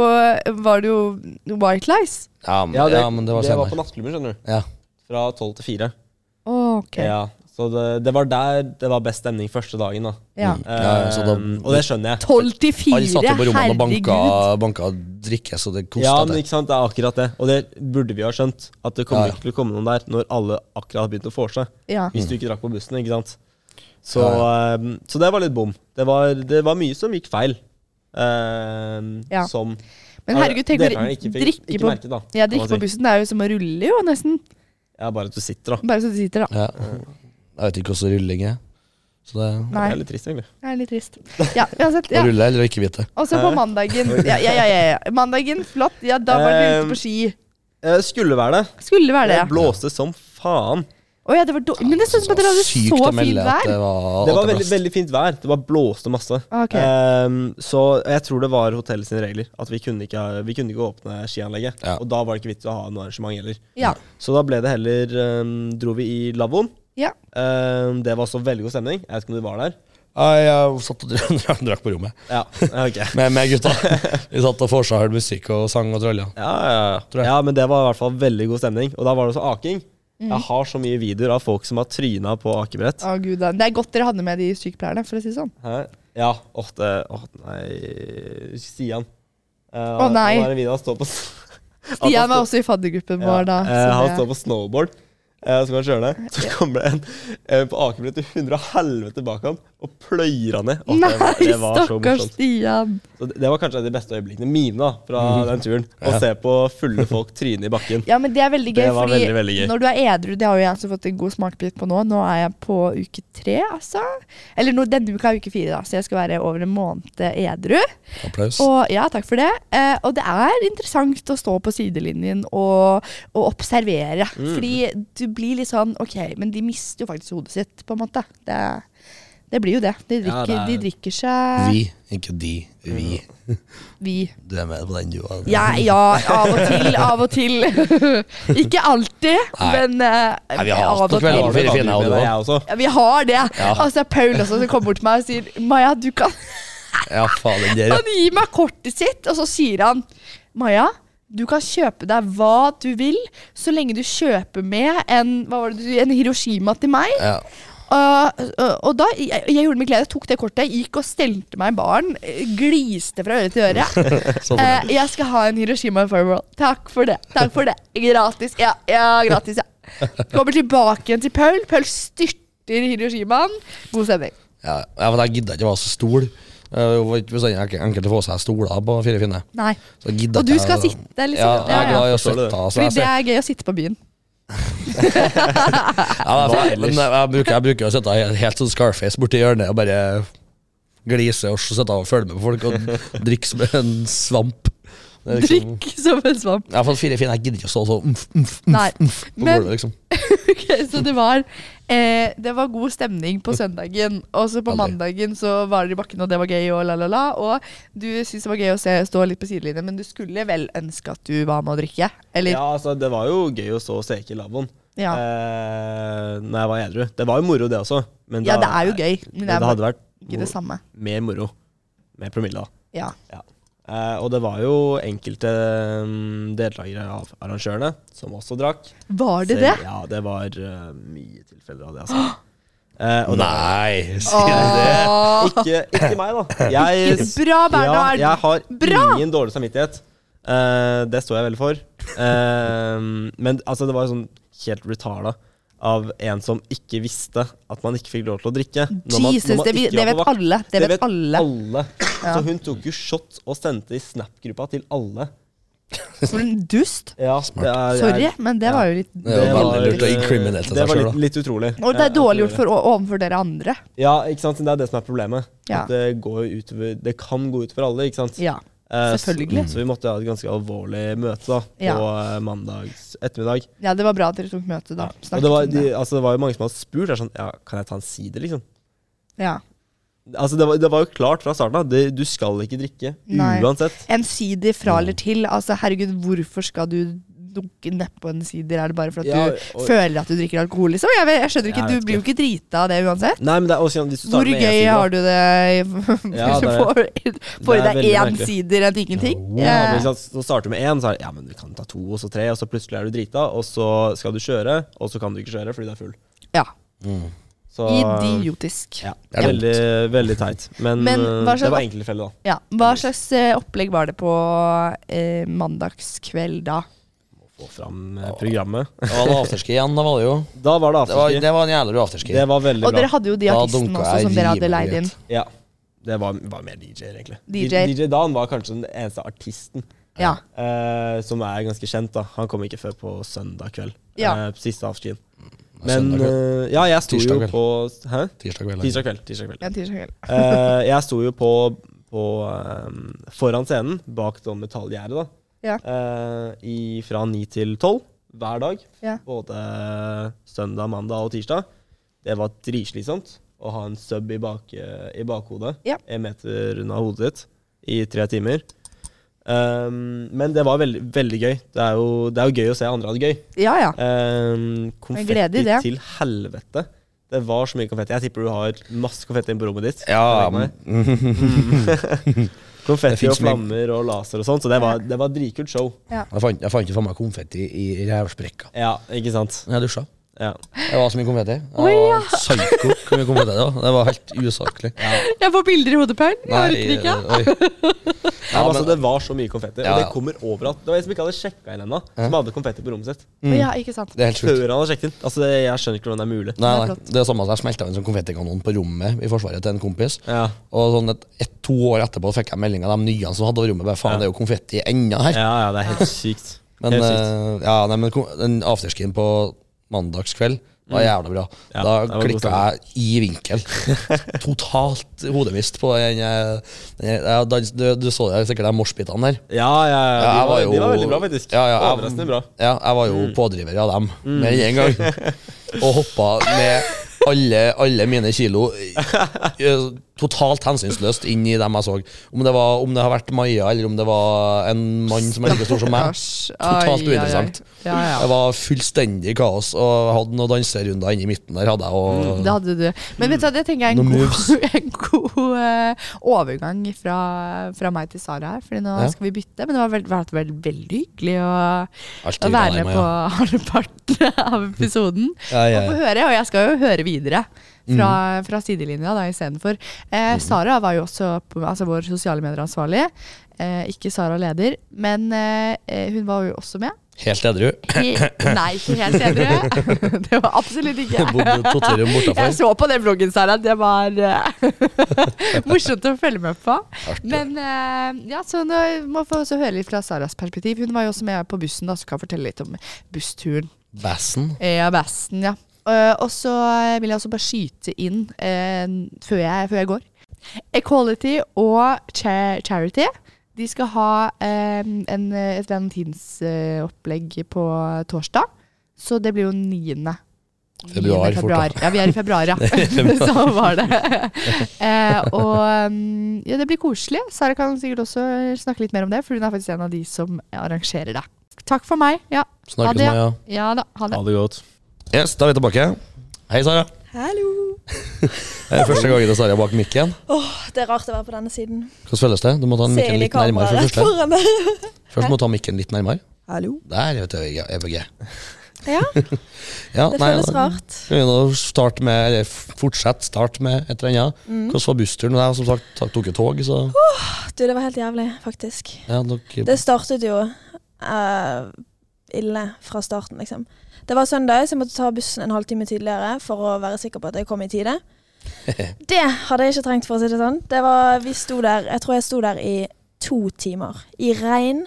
Speaker 2: var det jo White Lies.
Speaker 1: Ja, men-
Speaker 3: Ja, det,
Speaker 1: ja, men det var
Speaker 3: det var på
Speaker 1: senere.
Speaker 3: nattklubben, skjønner du.
Speaker 1: Ja.
Speaker 3: Fra tolv til fire.
Speaker 2: Ok. Ja.
Speaker 3: Ja, så det, det var der det var best stemning første dagen, da.
Speaker 1: Ja, så da-
Speaker 3: Ehm, og det skjønner jeg.
Speaker 2: 12 til 4,
Speaker 1: Alle satt jo på rommene og banka,
Speaker 2: herregud.
Speaker 1: banka drikke, så det kosta
Speaker 3: Ja, men
Speaker 1: det.
Speaker 3: ikke sant, det er akkurat det. Og det burde vi ha skjønt. At det kommer
Speaker 1: Ja, Mm. ja.
Speaker 3: ikke til å komme noen der når alle akkurat har begynt å få seg.
Speaker 2: Ja.
Speaker 3: Hvis du ikke drakk på bussen, ikke sant. Så, ehm, så det var litt bom. Det var, det var mye som gikk feil. Ehm,
Speaker 2: Ja.
Speaker 3: Som
Speaker 2: Men herregud, tenk å
Speaker 3: deltakerne ikke fikk
Speaker 2: drikke
Speaker 3: ikke
Speaker 2: på-
Speaker 3: merket, da.
Speaker 2: Ja,
Speaker 3: kan
Speaker 2: drikke
Speaker 3: man
Speaker 2: på
Speaker 3: si.
Speaker 2: bussen det er jo som å rulle, jo, nesten.
Speaker 3: Ja, bare at du sitter, da.
Speaker 2: Bare så du sitter, da.
Speaker 1: Ja. Jeg vet ikke hvordan rulling er. Så det
Speaker 2: Nei,
Speaker 3: Det er litt trist, egentlig.
Speaker 2: det er litt trist. Ja, uansett. Ja.
Speaker 1: rulle eller ikke vite.
Speaker 2: Og så på mandagen. Ja, ja, ja, ja, ja. Mandagen, flott. Ja, da var dere ute på ski.
Speaker 3: Eh, skulle være det.
Speaker 2: Skulle være det, ja.
Speaker 3: Det blåste som faen.
Speaker 2: Å ja, det var dårlig. Men det så ut som at dere hadde
Speaker 1: Sykt
Speaker 2: så
Speaker 1: å
Speaker 2: fint
Speaker 1: melde at
Speaker 2: vær.
Speaker 1: det var, at
Speaker 3: Det var
Speaker 1: det
Speaker 3: veldig,
Speaker 1: blåste.
Speaker 3: veldig fint vær. Det var blåste masse.
Speaker 2: Ok.
Speaker 3: Ehm, så jeg tror det var hotellet sine regler. At vi kunne ikke, vi kunne ikke åpne skianlegget.
Speaker 1: Ja.
Speaker 3: Og da var det ikke vits å ha noe arrangement heller.
Speaker 2: Ja.
Speaker 3: Så da ble det heller ehm, Dro vi i lavvoen.
Speaker 2: Ja.
Speaker 3: Ehm, det var også veldig god stemning. Jeg vet ikke om du var der.
Speaker 1: Nei, jeg satt og drakk- drakk på rommet
Speaker 3: Ja, ok.
Speaker 1: med, med gutta. Vi satt og vorsa, hørte musikk og sang og tralla.
Speaker 3: Ja, ja,
Speaker 1: Tror
Speaker 3: ja.
Speaker 1: jeg.
Speaker 3: ja, men det var i hvert fall veldig god stemning. Og da var det også aking. Jeg har så mye videoer av folk som har tryna på akebrett.
Speaker 2: Å, gud, da. Det er godt dere hadde med de sykepleierne, for å si det sånn.
Speaker 3: Hæ? Ja. Åh, det, åh, nei Stian. Eh,
Speaker 2: Å, nei.
Speaker 3: Han er i videoen, han står på
Speaker 2: Stian var også i faddergruppen vår da.
Speaker 3: eh,
Speaker 2: så
Speaker 3: han
Speaker 2: det-
Speaker 3: står på snowboard. Eh, så kan han kjøre det. Så kommer det en eh, på akebrett til hundre og helvete bak ham og pløyer han ned. Å, det var-
Speaker 2: Nei,
Speaker 3: det var så
Speaker 2: stakkars
Speaker 3: morsomt.
Speaker 2: Stian.
Speaker 3: Så det, det var kanskje de beste øyeblikkene mine da, fra den turen. Å se på fulle folk tryne i bakken.
Speaker 2: Ja, men det er veldig gøy,
Speaker 3: Det var
Speaker 2: fordi
Speaker 3: veldig, veldig gøy.
Speaker 2: når du er edru Det har jo jeg også fått en god smakebit på nå. Nå er jeg på uke tre, altså. Eller nå, denne uka er uke fire, da, så jeg skal være over en måned edru.
Speaker 1: Applaus.
Speaker 2: Og, ja, takk for det. Eh, og det er interessant å stå på sidelinjen og, og observere.
Speaker 3: Mm.
Speaker 2: Fordi du blir litt sånn Ok, men de mister jo faktisk hodet sitt, på en måte. Det, det blir jo det. De
Speaker 3: Ja,
Speaker 2: drikker,
Speaker 3: det
Speaker 2: de
Speaker 3: er-
Speaker 2: drikker seg
Speaker 1: Vi, ikke de. Vi.
Speaker 2: Vi.
Speaker 1: Du er med på den, du òg.
Speaker 2: Ja, ja, av og til, av og til. Ikke alltid,
Speaker 1: Nei.
Speaker 2: men eh,
Speaker 1: Nei, vi har
Speaker 2: av
Speaker 1: hatt
Speaker 2: og
Speaker 1: noen
Speaker 2: til.
Speaker 1: veldig
Speaker 3: Har du
Speaker 1: fine,
Speaker 3: et
Speaker 1: fine,
Speaker 3: angrep
Speaker 1: og du
Speaker 3: med deg, jeg også.
Speaker 2: Ja, vi har det.
Speaker 1: Ja.
Speaker 2: Altså, det er Paul også som kommer bort til meg og sier Maja, du kan
Speaker 1: Ja, faen, den der, ja.
Speaker 2: Han gir meg kortet sitt, og så sier han Maja, du kan kjøpe deg hva du vil, så lenge du kjøper med en, hva var det, du- en Hiroshima til meg.
Speaker 1: ja.
Speaker 2: Uh, uh, og da, jeg, jeg gjorde meg glede, jeg tok det kortet, gikk og stelte meg i baren, eh, gliste fra øre til øre.
Speaker 1: Så
Speaker 2: Eh, jeg skal ha en Hiroshima Fireball. Takk for det. takk for det Gratis. Ja, ja gratis, ja. Kommer tilbake igjen til Paul. Paul styrter Hiroshimaen. God stemning.
Speaker 1: Ja, ja, for jeg gidda ikke å være så stol. Eh, Det var ikke bestandig enk- enkelt å få seg stoler på Fire finne.
Speaker 2: Nei.
Speaker 1: Så jeg gidda
Speaker 2: Og du
Speaker 1: ikke
Speaker 2: skal
Speaker 1: å-
Speaker 2: sitte, liksom.
Speaker 1: Ja, jeg
Speaker 2: Ja,
Speaker 1: er
Speaker 2: ja.
Speaker 1: glad i å
Speaker 3: Forstår
Speaker 1: sitte.
Speaker 3: det.
Speaker 1: Altså, jeg
Speaker 2: Fordi det
Speaker 1: ser-
Speaker 2: er gøy å sitte på byen.
Speaker 1: ja, jeg,
Speaker 3: Hva
Speaker 1: får- men jeg, jeg, bruker, jeg bruker å sitte helt, helt sånn Scarface borti hjørnet og bare glise og sitte og følge med på folk og drikke som en svamp. Det er liksom-
Speaker 3: sånn-
Speaker 2: Drikk som en svamp.
Speaker 1: Ja, for fire finne, jeg gidder ikke å stå sånn umf, umf, umf,
Speaker 2: Nei.
Speaker 1: umf, på
Speaker 2: Men-
Speaker 1: gulvet, liksom.
Speaker 2: Ok, så det var, eh, det var god stemning på søndagen. Og så på
Speaker 1: Veldig.
Speaker 2: mandagen så var dere i bakken, og det var gøy, og la, la, la. Og du syntes det var gøy å se, stå litt på sidelinjen, men du skulle vel ønske at du var med å drikke? Eller?
Speaker 3: Ja, altså, det var jo gøy å stå og steke i lavvoen
Speaker 2: Ja.
Speaker 3: eh, når jeg var edru. Det var jo moro, det også. Men
Speaker 2: Ja,
Speaker 3: da-
Speaker 2: det er jo gøy, men
Speaker 3: Men
Speaker 2: det er
Speaker 3: det hadde vært
Speaker 2: Ikke det samme.
Speaker 3: mer moro med promille, da.
Speaker 2: Ja.
Speaker 3: Ja. Eh, og det var jo enkelte mm, deltakere av arrangørene som også drakk.
Speaker 2: Var det
Speaker 3: Selv-
Speaker 2: det?
Speaker 3: Ja, det var eh, mye tilfeller av det, altså. Eh, og det var-
Speaker 1: Nei, sier du det?
Speaker 3: ikke, ikke meg, da. Jeg,
Speaker 2: Ikke- bra, Bernhard.
Speaker 3: Ja, jeg har
Speaker 2: Bra.
Speaker 3: ingen dårlig samvittighet. Eh, det står jeg veldig for. Eh, men altså, det var jo sånn helt retarda av en som ikke visste at man ikke fikk lov til å drikke. når man- når
Speaker 2: Jesus,
Speaker 3: man
Speaker 2: det, vi-
Speaker 3: ikke
Speaker 2: det
Speaker 3: var på
Speaker 2: vet
Speaker 3: vakt.
Speaker 2: alle. Det vet alle. Ja.
Speaker 3: Så hun tok jo shot og sendte i Snap-gruppa til alle.
Speaker 2: For en dust.
Speaker 3: Ja, det er-
Speaker 2: Sorry,
Speaker 3: jeg-
Speaker 2: men det var jo litt
Speaker 1: Det er jo
Speaker 3: var-
Speaker 1: veldig lurt og inkriminelt av
Speaker 3: Det
Speaker 1: seg
Speaker 3: var
Speaker 1: selv,
Speaker 3: litt, litt utrolig.
Speaker 2: Og det
Speaker 3: eh,
Speaker 2: er
Speaker 3: at
Speaker 2: dårlig
Speaker 3: hun
Speaker 2: gjort
Speaker 3: gjorde
Speaker 2: for, overfor dere andre.
Speaker 3: Ja, ikke sant? Det er det som er problemet.
Speaker 2: Ja.
Speaker 3: At det, går jo utover, det kan gå utover alle, ikke sant?
Speaker 2: Ja.
Speaker 3: Eh,
Speaker 2: selvfølgelig.
Speaker 3: Så, så vi måtte ha et ganske alvorlig møte da, på
Speaker 2: Ja.
Speaker 3: eh, mandags ettermiddag.
Speaker 2: ja, det var bra at dere tok møte, da.
Speaker 3: Og
Speaker 2: Snakket
Speaker 3: det var,
Speaker 2: om
Speaker 3: de,
Speaker 2: det.
Speaker 3: altså, det var jo mange som hadde spurt. Er sånn, ja, kan jeg ta en sider, liksom?
Speaker 2: Ja.
Speaker 3: Altså, det, var, det var jo klart fra starten av. det- Du skal ikke drikke
Speaker 2: Nei.
Speaker 3: uansett.
Speaker 2: En sider fra eller til. Altså, herregud, hvorfor skal du dunke nedpå en sider? Er det bare for at
Speaker 3: Ja,
Speaker 2: du
Speaker 3: og-
Speaker 2: føler at du drikker alkohol, liksom? Jeg, vet- jeg skjønner ikke,
Speaker 3: Jeg vet
Speaker 2: Du blir jo ikke drita av det uansett.
Speaker 3: Nei, men det er også sånn, hvis du tar
Speaker 2: Hvor
Speaker 3: det med
Speaker 2: gøy
Speaker 3: en
Speaker 2: har du det i-
Speaker 3: Ja,
Speaker 2: hvis du
Speaker 3: det er-
Speaker 2: får får i
Speaker 3: det er
Speaker 2: deg
Speaker 3: veldig
Speaker 2: én
Speaker 3: merkelig.
Speaker 2: sider enn ingenting?
Speaker 3: Ja,
Speaker 2: Eh,
Speaker 3: men ikke sant, så starter du med én, så er det ja, men du kan ta to og så tre, og så plutselig er du drita, og så skal du kjøre, og så kan du ikke kjøre fordi du er full.
Speaker 2: ja.
Speaker 1: Mm.
Speaker 3: Så
Speaker 2: Idiotisk.
Speaker 3: ja,
Speaker 1: Det er dumt.
Speaker 3: veldig, veldig teit. Men,
Speaker 2: Men
Speaker 3: eh,
Speaker 2: hva slags-
Speaker 3: det var enkeltfelle, da.
Speaker 2: Ja. Hva slags eh, opplegg var det på eh, mandagskveld da?
Speaker 3: Få fram eh, programmet.
Speaker 1: Det var en afterski igjen, da var det jo.
Speaker 3: Da var det
Speaker 1: Det var,
Speaker 3: afterski.
Speaker 1: det var en jævla rå afterski.
Speaker 3: Det var veldig
Speaker 2: Og dere
Speaker 3: bra.
Speaker 2: hadde jo de
Speaker 1: Da
Speaker 2: artistene
Speaker 1: dunka
Speaker 2: også
Speaker 1: jeg
Speaker 2: som dere hadde leid
Speaker 1: rimelig
Speaker 2: inn.
Speaker 1: greit.
Speaker 3: Ja. Det var, var mer DJ-er, egentlig.
Speaker 2: DJ-er.
Speaker 3: DJ Dan var kanskje den eneste artisten
Speaker 2: Ja.
Speaker 3: eh, som er ganske kjent. da Han kom ikke før på søndag kveld.
Speaker 2: Ja.
Speaker 3: Eh, på siste afterskien. Men
Speaker 1: Søndag kveld.
Speaker 3: eh, ja, jeg sto
Speaker 1: Tirsdag
Speaker 3: jo
Speaker 1: kveld.
Speaker 3: på Hæ?
Speaker 1: Tirsdag kveld.
Speaker 3: Tirsdag kveld. Tirsdag kveld.
Speaker 2: Ja, tirsdag kveld.
Speaker 3: Eh, jeg sto jo på, på eh, foran scenen, bak det metallgjerdet, da.
Speaker 2: Ja.
Speaker 3: eh, i, fra ni til tolv hver dag.
Speaker 2: Ja.
Speaker 3: Både søndag, mandag og tirsdag. Det var dritslitsomt å ha en sub i, bak, eh, i bakhodet,
Speaker 2: Ja.
Speaker 3: en meter unna hodet ditt, i tre timer. Um, men det var veldig, veldig gøy. Det er, jo, det er jo gøy å se andre ha det gøy.
Speaker 2: ja ja. er glede
Speaker 3: Um,
Speaker 2: i
Speaker 3: konfetti
Speaker 2: det.
Speaker 3: til helvete. Det var så mye konfetti. Jeg tipper du har masse konfetti inne på rommet ditt.
Speaker 1: Ja,
Speaker 3: Tenk meg.
Speaker 1: mm, Det
Speaker 3: Konfetti og
Speaker 1: finnes mye-
Speaker 3: flammer og laser og sånn, så det var, det var dritkult show.
Speaker 1: jeg fant, jeg fant ikke for meg konfetti i rævsprekka.
Speaker 3: Ja, ikke sant?
Speaker 1: Men Jeg dusja.
Speaker 3: Ja.
Speaker 1: Det var så mye konfetti. Jeg
Speaker 2: Oi, ja.
Speaker 1: var psyko hvor mye konfetti det var. Det var helt usaklig.
Speaker 2: Jeg får bilder i hodet, Paul. Jeg orker ikke.
Speaker 1: oi.
Speaker 3: Ja, men, altså,
Speaker 1: men-
Speaker 3: det var så mye konfetti,
Speaker 1: Ja,
Speaker 3: og
Speaker 1: ja.
Speaker 3: det kommer overalt. Det var en som ikke hadde sjekka inn ennå, som hadde konfetti på rommet sitt.
Speaker 2: Å, Ja, ikke sant.
Speaker 1: Det er helt
Speaker 3: Før
Speaker 1: sjukt.
Speaker 3: han hadde sjekket inn. Altså, det, Jeg skjønner ikke hvordan det er mulig.
Speaker 1: Nei,
Speaker 2: Det er
Speaker 1: nei,
Speaker 2: flott.
Speaker 1: det er samme at jeg smelta en sånn konfettikanon på rommet i Forsvaret til en kompis.
Speaker 3: Ja.
Speaker 1: Og sånn et, et, to år etterpå fikk jeg melding av de nye som hadde rommet. Bare, faen,
Speaker 3: Ja.
Speaker 1: det er jo konfetti ennå her.
Speaker 3: Ja, ja, det er helt sykt.
Speaker 1: Men,
Speaker 3: helt sykt.
Speaker 1: eh, ja, nei, men kon- den afterskien på mandagskveld var jævla bra.
Speaker 3: Mm. Ja,
Speaker 1: da
Speaker 3: det var god
Speaker 1: klikka jeg i vinkel. Totalt hodemist på den, eh, den ja, da, du, du så det sikkert de morsbitene der.
Speaker 3: Ja, ja, ja.
Speaker 1: Ja,
Speaker 3: De,
Speaker 1: jeg
Speaker 3: var,
Speaker 1: var jo-
Speaker 3: de var veldig bra, faktisk.
Speaker 1: Ja, ja, jeg-
Speaker 3: Overraskende bra.
Speaker 1: Ja, jeg var jo pådriver av dem med en gang. Og hoppa med alle, alle mine kilo eh, totalt hensynsløst inn i dem jeg så. Om det, var, om det har vært Maja, eller om det var en mann som er like stor som meg.
Speaker 2: Stakkars. Ai,
Speaker 1: Totalt
Speaker 2: ai, ai.
Speaker 1: uinteressant.
Speaker 2: Ja, ja.
Speaker 1: Det var fullstendig kaos, og hadde noen danserunder inne i midten der. hadde jeg
Speaker 2: Mm, Det
Speaker 1: og...
Speaker 2: hadde du. Men vet du hva, det tenker jeg er
Speaker 1: Noen
Speaker 2: en
Speaker 1: moves.
Speaker 2: god, en god eh, overgang fra, fra meg til Sara her, Fordi nå
Speaker 1: Ja.
Speaker 2: skal vi bytte. Men det har vært veld, veldig, veldig hyggelig å,
Speaker 1: Alltid
Speaker 2: å
Speaker 1: glad i
Speaker 2: være med
Speaker 1: meg,
Speaker 2: på
Speaker 1: ja.
Speaker 2: halvparten av episoden.
Speaker 1: Ja, ja, Mm.
Speaker 2: Og
Speaker 1: ja.
Speaker 2: få høre, og jeg skal jo høre videre. Fra, fra sidelinja da istedenfor.
Speaker 1: Mm.
Speaker 2: Eh, Sara var jo også på, altså vår sosiale medieransvarlig. Eh, ikke Sara leder, men eh, eh, hun var jo også med.
Speaker 1: Helt edru.
Speaker 2: He- Nei, ikke helt edru. Det var absolutt ikke.
Speaker 1: Bodde to-tre rom
Speaker 2: Jeg
Speaker 1: bortafor.
Speaker 2: så på den bloggen, Sara. Det var eh, morsomt å følge med på. Men eh, ja, så nå må vi også høre litt fra Saras perspektiv. Hun var jo også med på bussen, da, så kan jeg fortelle litt om bussturen.
Speaker 1: Bassen.
Speaker 2: Ja, Vesten, ja. Eh, og så eh, vil jeg også bare skyte inn eh, før, jeg, før jeg går. Equality og cha Charity de skal ha eh, en, eh, et valentinsopplegg på torsdag. Så det blir jo 9.
Speaker 1: Februar,
Speaker 2: 9. februar.
Speaker 1: fort
Speaker 2: Ja, vi er i februar, ja. så var det. eh, og mm, ja, det blir koselig. Sara kan sikkert også snakke litt mer om det, for hun er faktisk en av de som arrangerer det. Takk for meg. Ja, Ha
Speaker 1: Snakkes
Speaker 2: det.
Speaker 1: med, ja.
Speaker 2: ja da. Ha det.
Speaker 3: Ha det godt.
Speaker 1: Yes, da er vi tilbake. Hei, Sara.
Speaker 4: Hallo!
Speaker 1: Det er første gangen det er Sara bak mikken.
Speaker 4: Det er rart å være på denne siden.
Speaker 1: Hvordan føles det? Du må ta den
Speaker 4: Se
Speaker 1: mikken Sånn,
Speaker 4: inn i
Speaker 1: litt nærmere
Speaker 4: kameraet
Speaker 1: først.
Speaker 4: rett
Speaker 1: ja.
Speaker 4: foran deg.
Speaker 1: Først må du ta mikken litt nærmere.
Speaker 4: Hallo.
Speaker 1: Der vet du, jeg er på G.
Speaker 4: Ja,
Speaker 1: Ja,
Speaker 4: det
Speaker 1: nei,
Speaker 4: føles
Speaker 1: da-
Speaker 4: rart.
Speaker 1: Skal vi nå starte med, eller fortsette start med et eller annet?
Speaker 4: Mm.
Speaker 1: Hvordan var bussturen? Jeg som sagt ta- tok jo tog, så
Speaker 4: Du, det var helt jævlig, faktisk.
Speaker 1: ja, dere,
Speaker 4: Det startet jo eh, ille fra starten, liksom. Det var søndag, så jeg måtte ta bussen en halvtime tidligere for å være sikker på at jeg kom i tide. Det hadde jeg ikke trengt, for å si det sånn. Det var, vi sto der, jeg tror jeg sto der i to timer. I regn.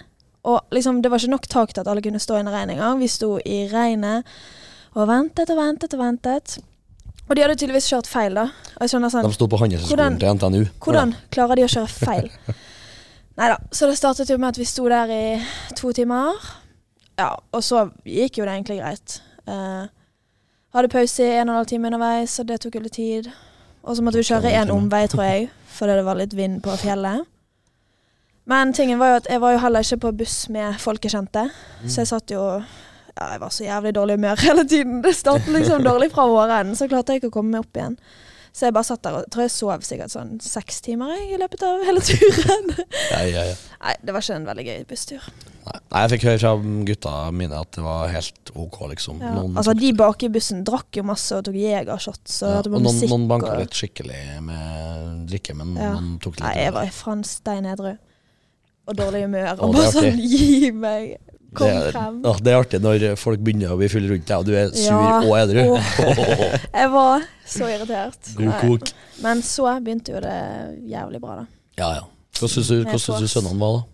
Speaker 4: Og liksom, det var ikke nok tak til at alle kunne stå inne i regn engang. Vi sto i regnet og ventet og ventet og ventet. Og de hadde tydeligvis kjørt feil, da. Og jeg skjønner sånn
Speaker 1: De sto på Handelshøyskolen
Speaker 4: Hvordan-
Speaker 1: til NTNU.
Speaker 4: hvordan klarer de å kjøre feil? Nei da. Så det startet jo med at vi sto der i to timer. Ja, og så gikk jo det egentlig greit. Eh, hadde pause i en og en halv time underveis, og det tok jo litt tid. Og så måtte vi kjøre en omvei, tror jeg, fordi det var litt vind på fjellet. Men tingen var jo at jeg var jo heller ikke på buss med folk jeg kjente, så jeg satt jo ja, Jeg var så jævlig dårlig i humør hele tiden. Det startet liksom dårlig fra morgenen, så klarte jeg ikke å komme meg opp igjen. Så jeg bare satt der og tror jeg sov sikkert sånn seks timer jeg, i løpet av hele turen.
Speaker 1: Ja, ja, ja.
Speaker 4: Nei, det var ikke en veldig gøy busstur.
Speaker 1: Nei, Nei, jeg fikk høre fra gutta mine at det var helt ok, liksom.
Speaker 4: Ja.
Speaker 1: Noen,
Speaker 4: Altså, de bak i bussen drakk jo masse og tok jegershots og
Speaker 1: ja,
Speaker 4: hørte
Speaker 1: og
Speaker 4: på
Speaker 1: noen,
Speaker 4: musikk.
Speaker 1: noen banka
Speaker 4: og-
Speaker 1: litt skikkelig med drikke, men
Speaker 4: Ja.
Speaker 1: noen tok litt
Speaker 4: Nei, jeg var faen stein edru. Og dårlig humør.
Speaker 1: Å,
Speaker 4: Og
Speaker 1: det er
Speaker 4: bare sånn
Speaker 1: artig.
Speaker 4: Gi meg! Kom
Speaker 1: det, er,
Speaker 4: frem.
Speaker 1: ja, det er artig når folk begynner å bli fulle rundt deg, og du er sur
Speaker 4: Ja.
Speaker 1: og edru.
Speaker 4: Jeg var så irritert.
Speaker 1: God
Speaker 4: Nei.
Speaker 1: kok.
Speaker 4: Men så begynte jo det jævlig bra, da.
Speaker 1: Ja, ja. Hvordan syns du, hvordan syns du sønnene var, da?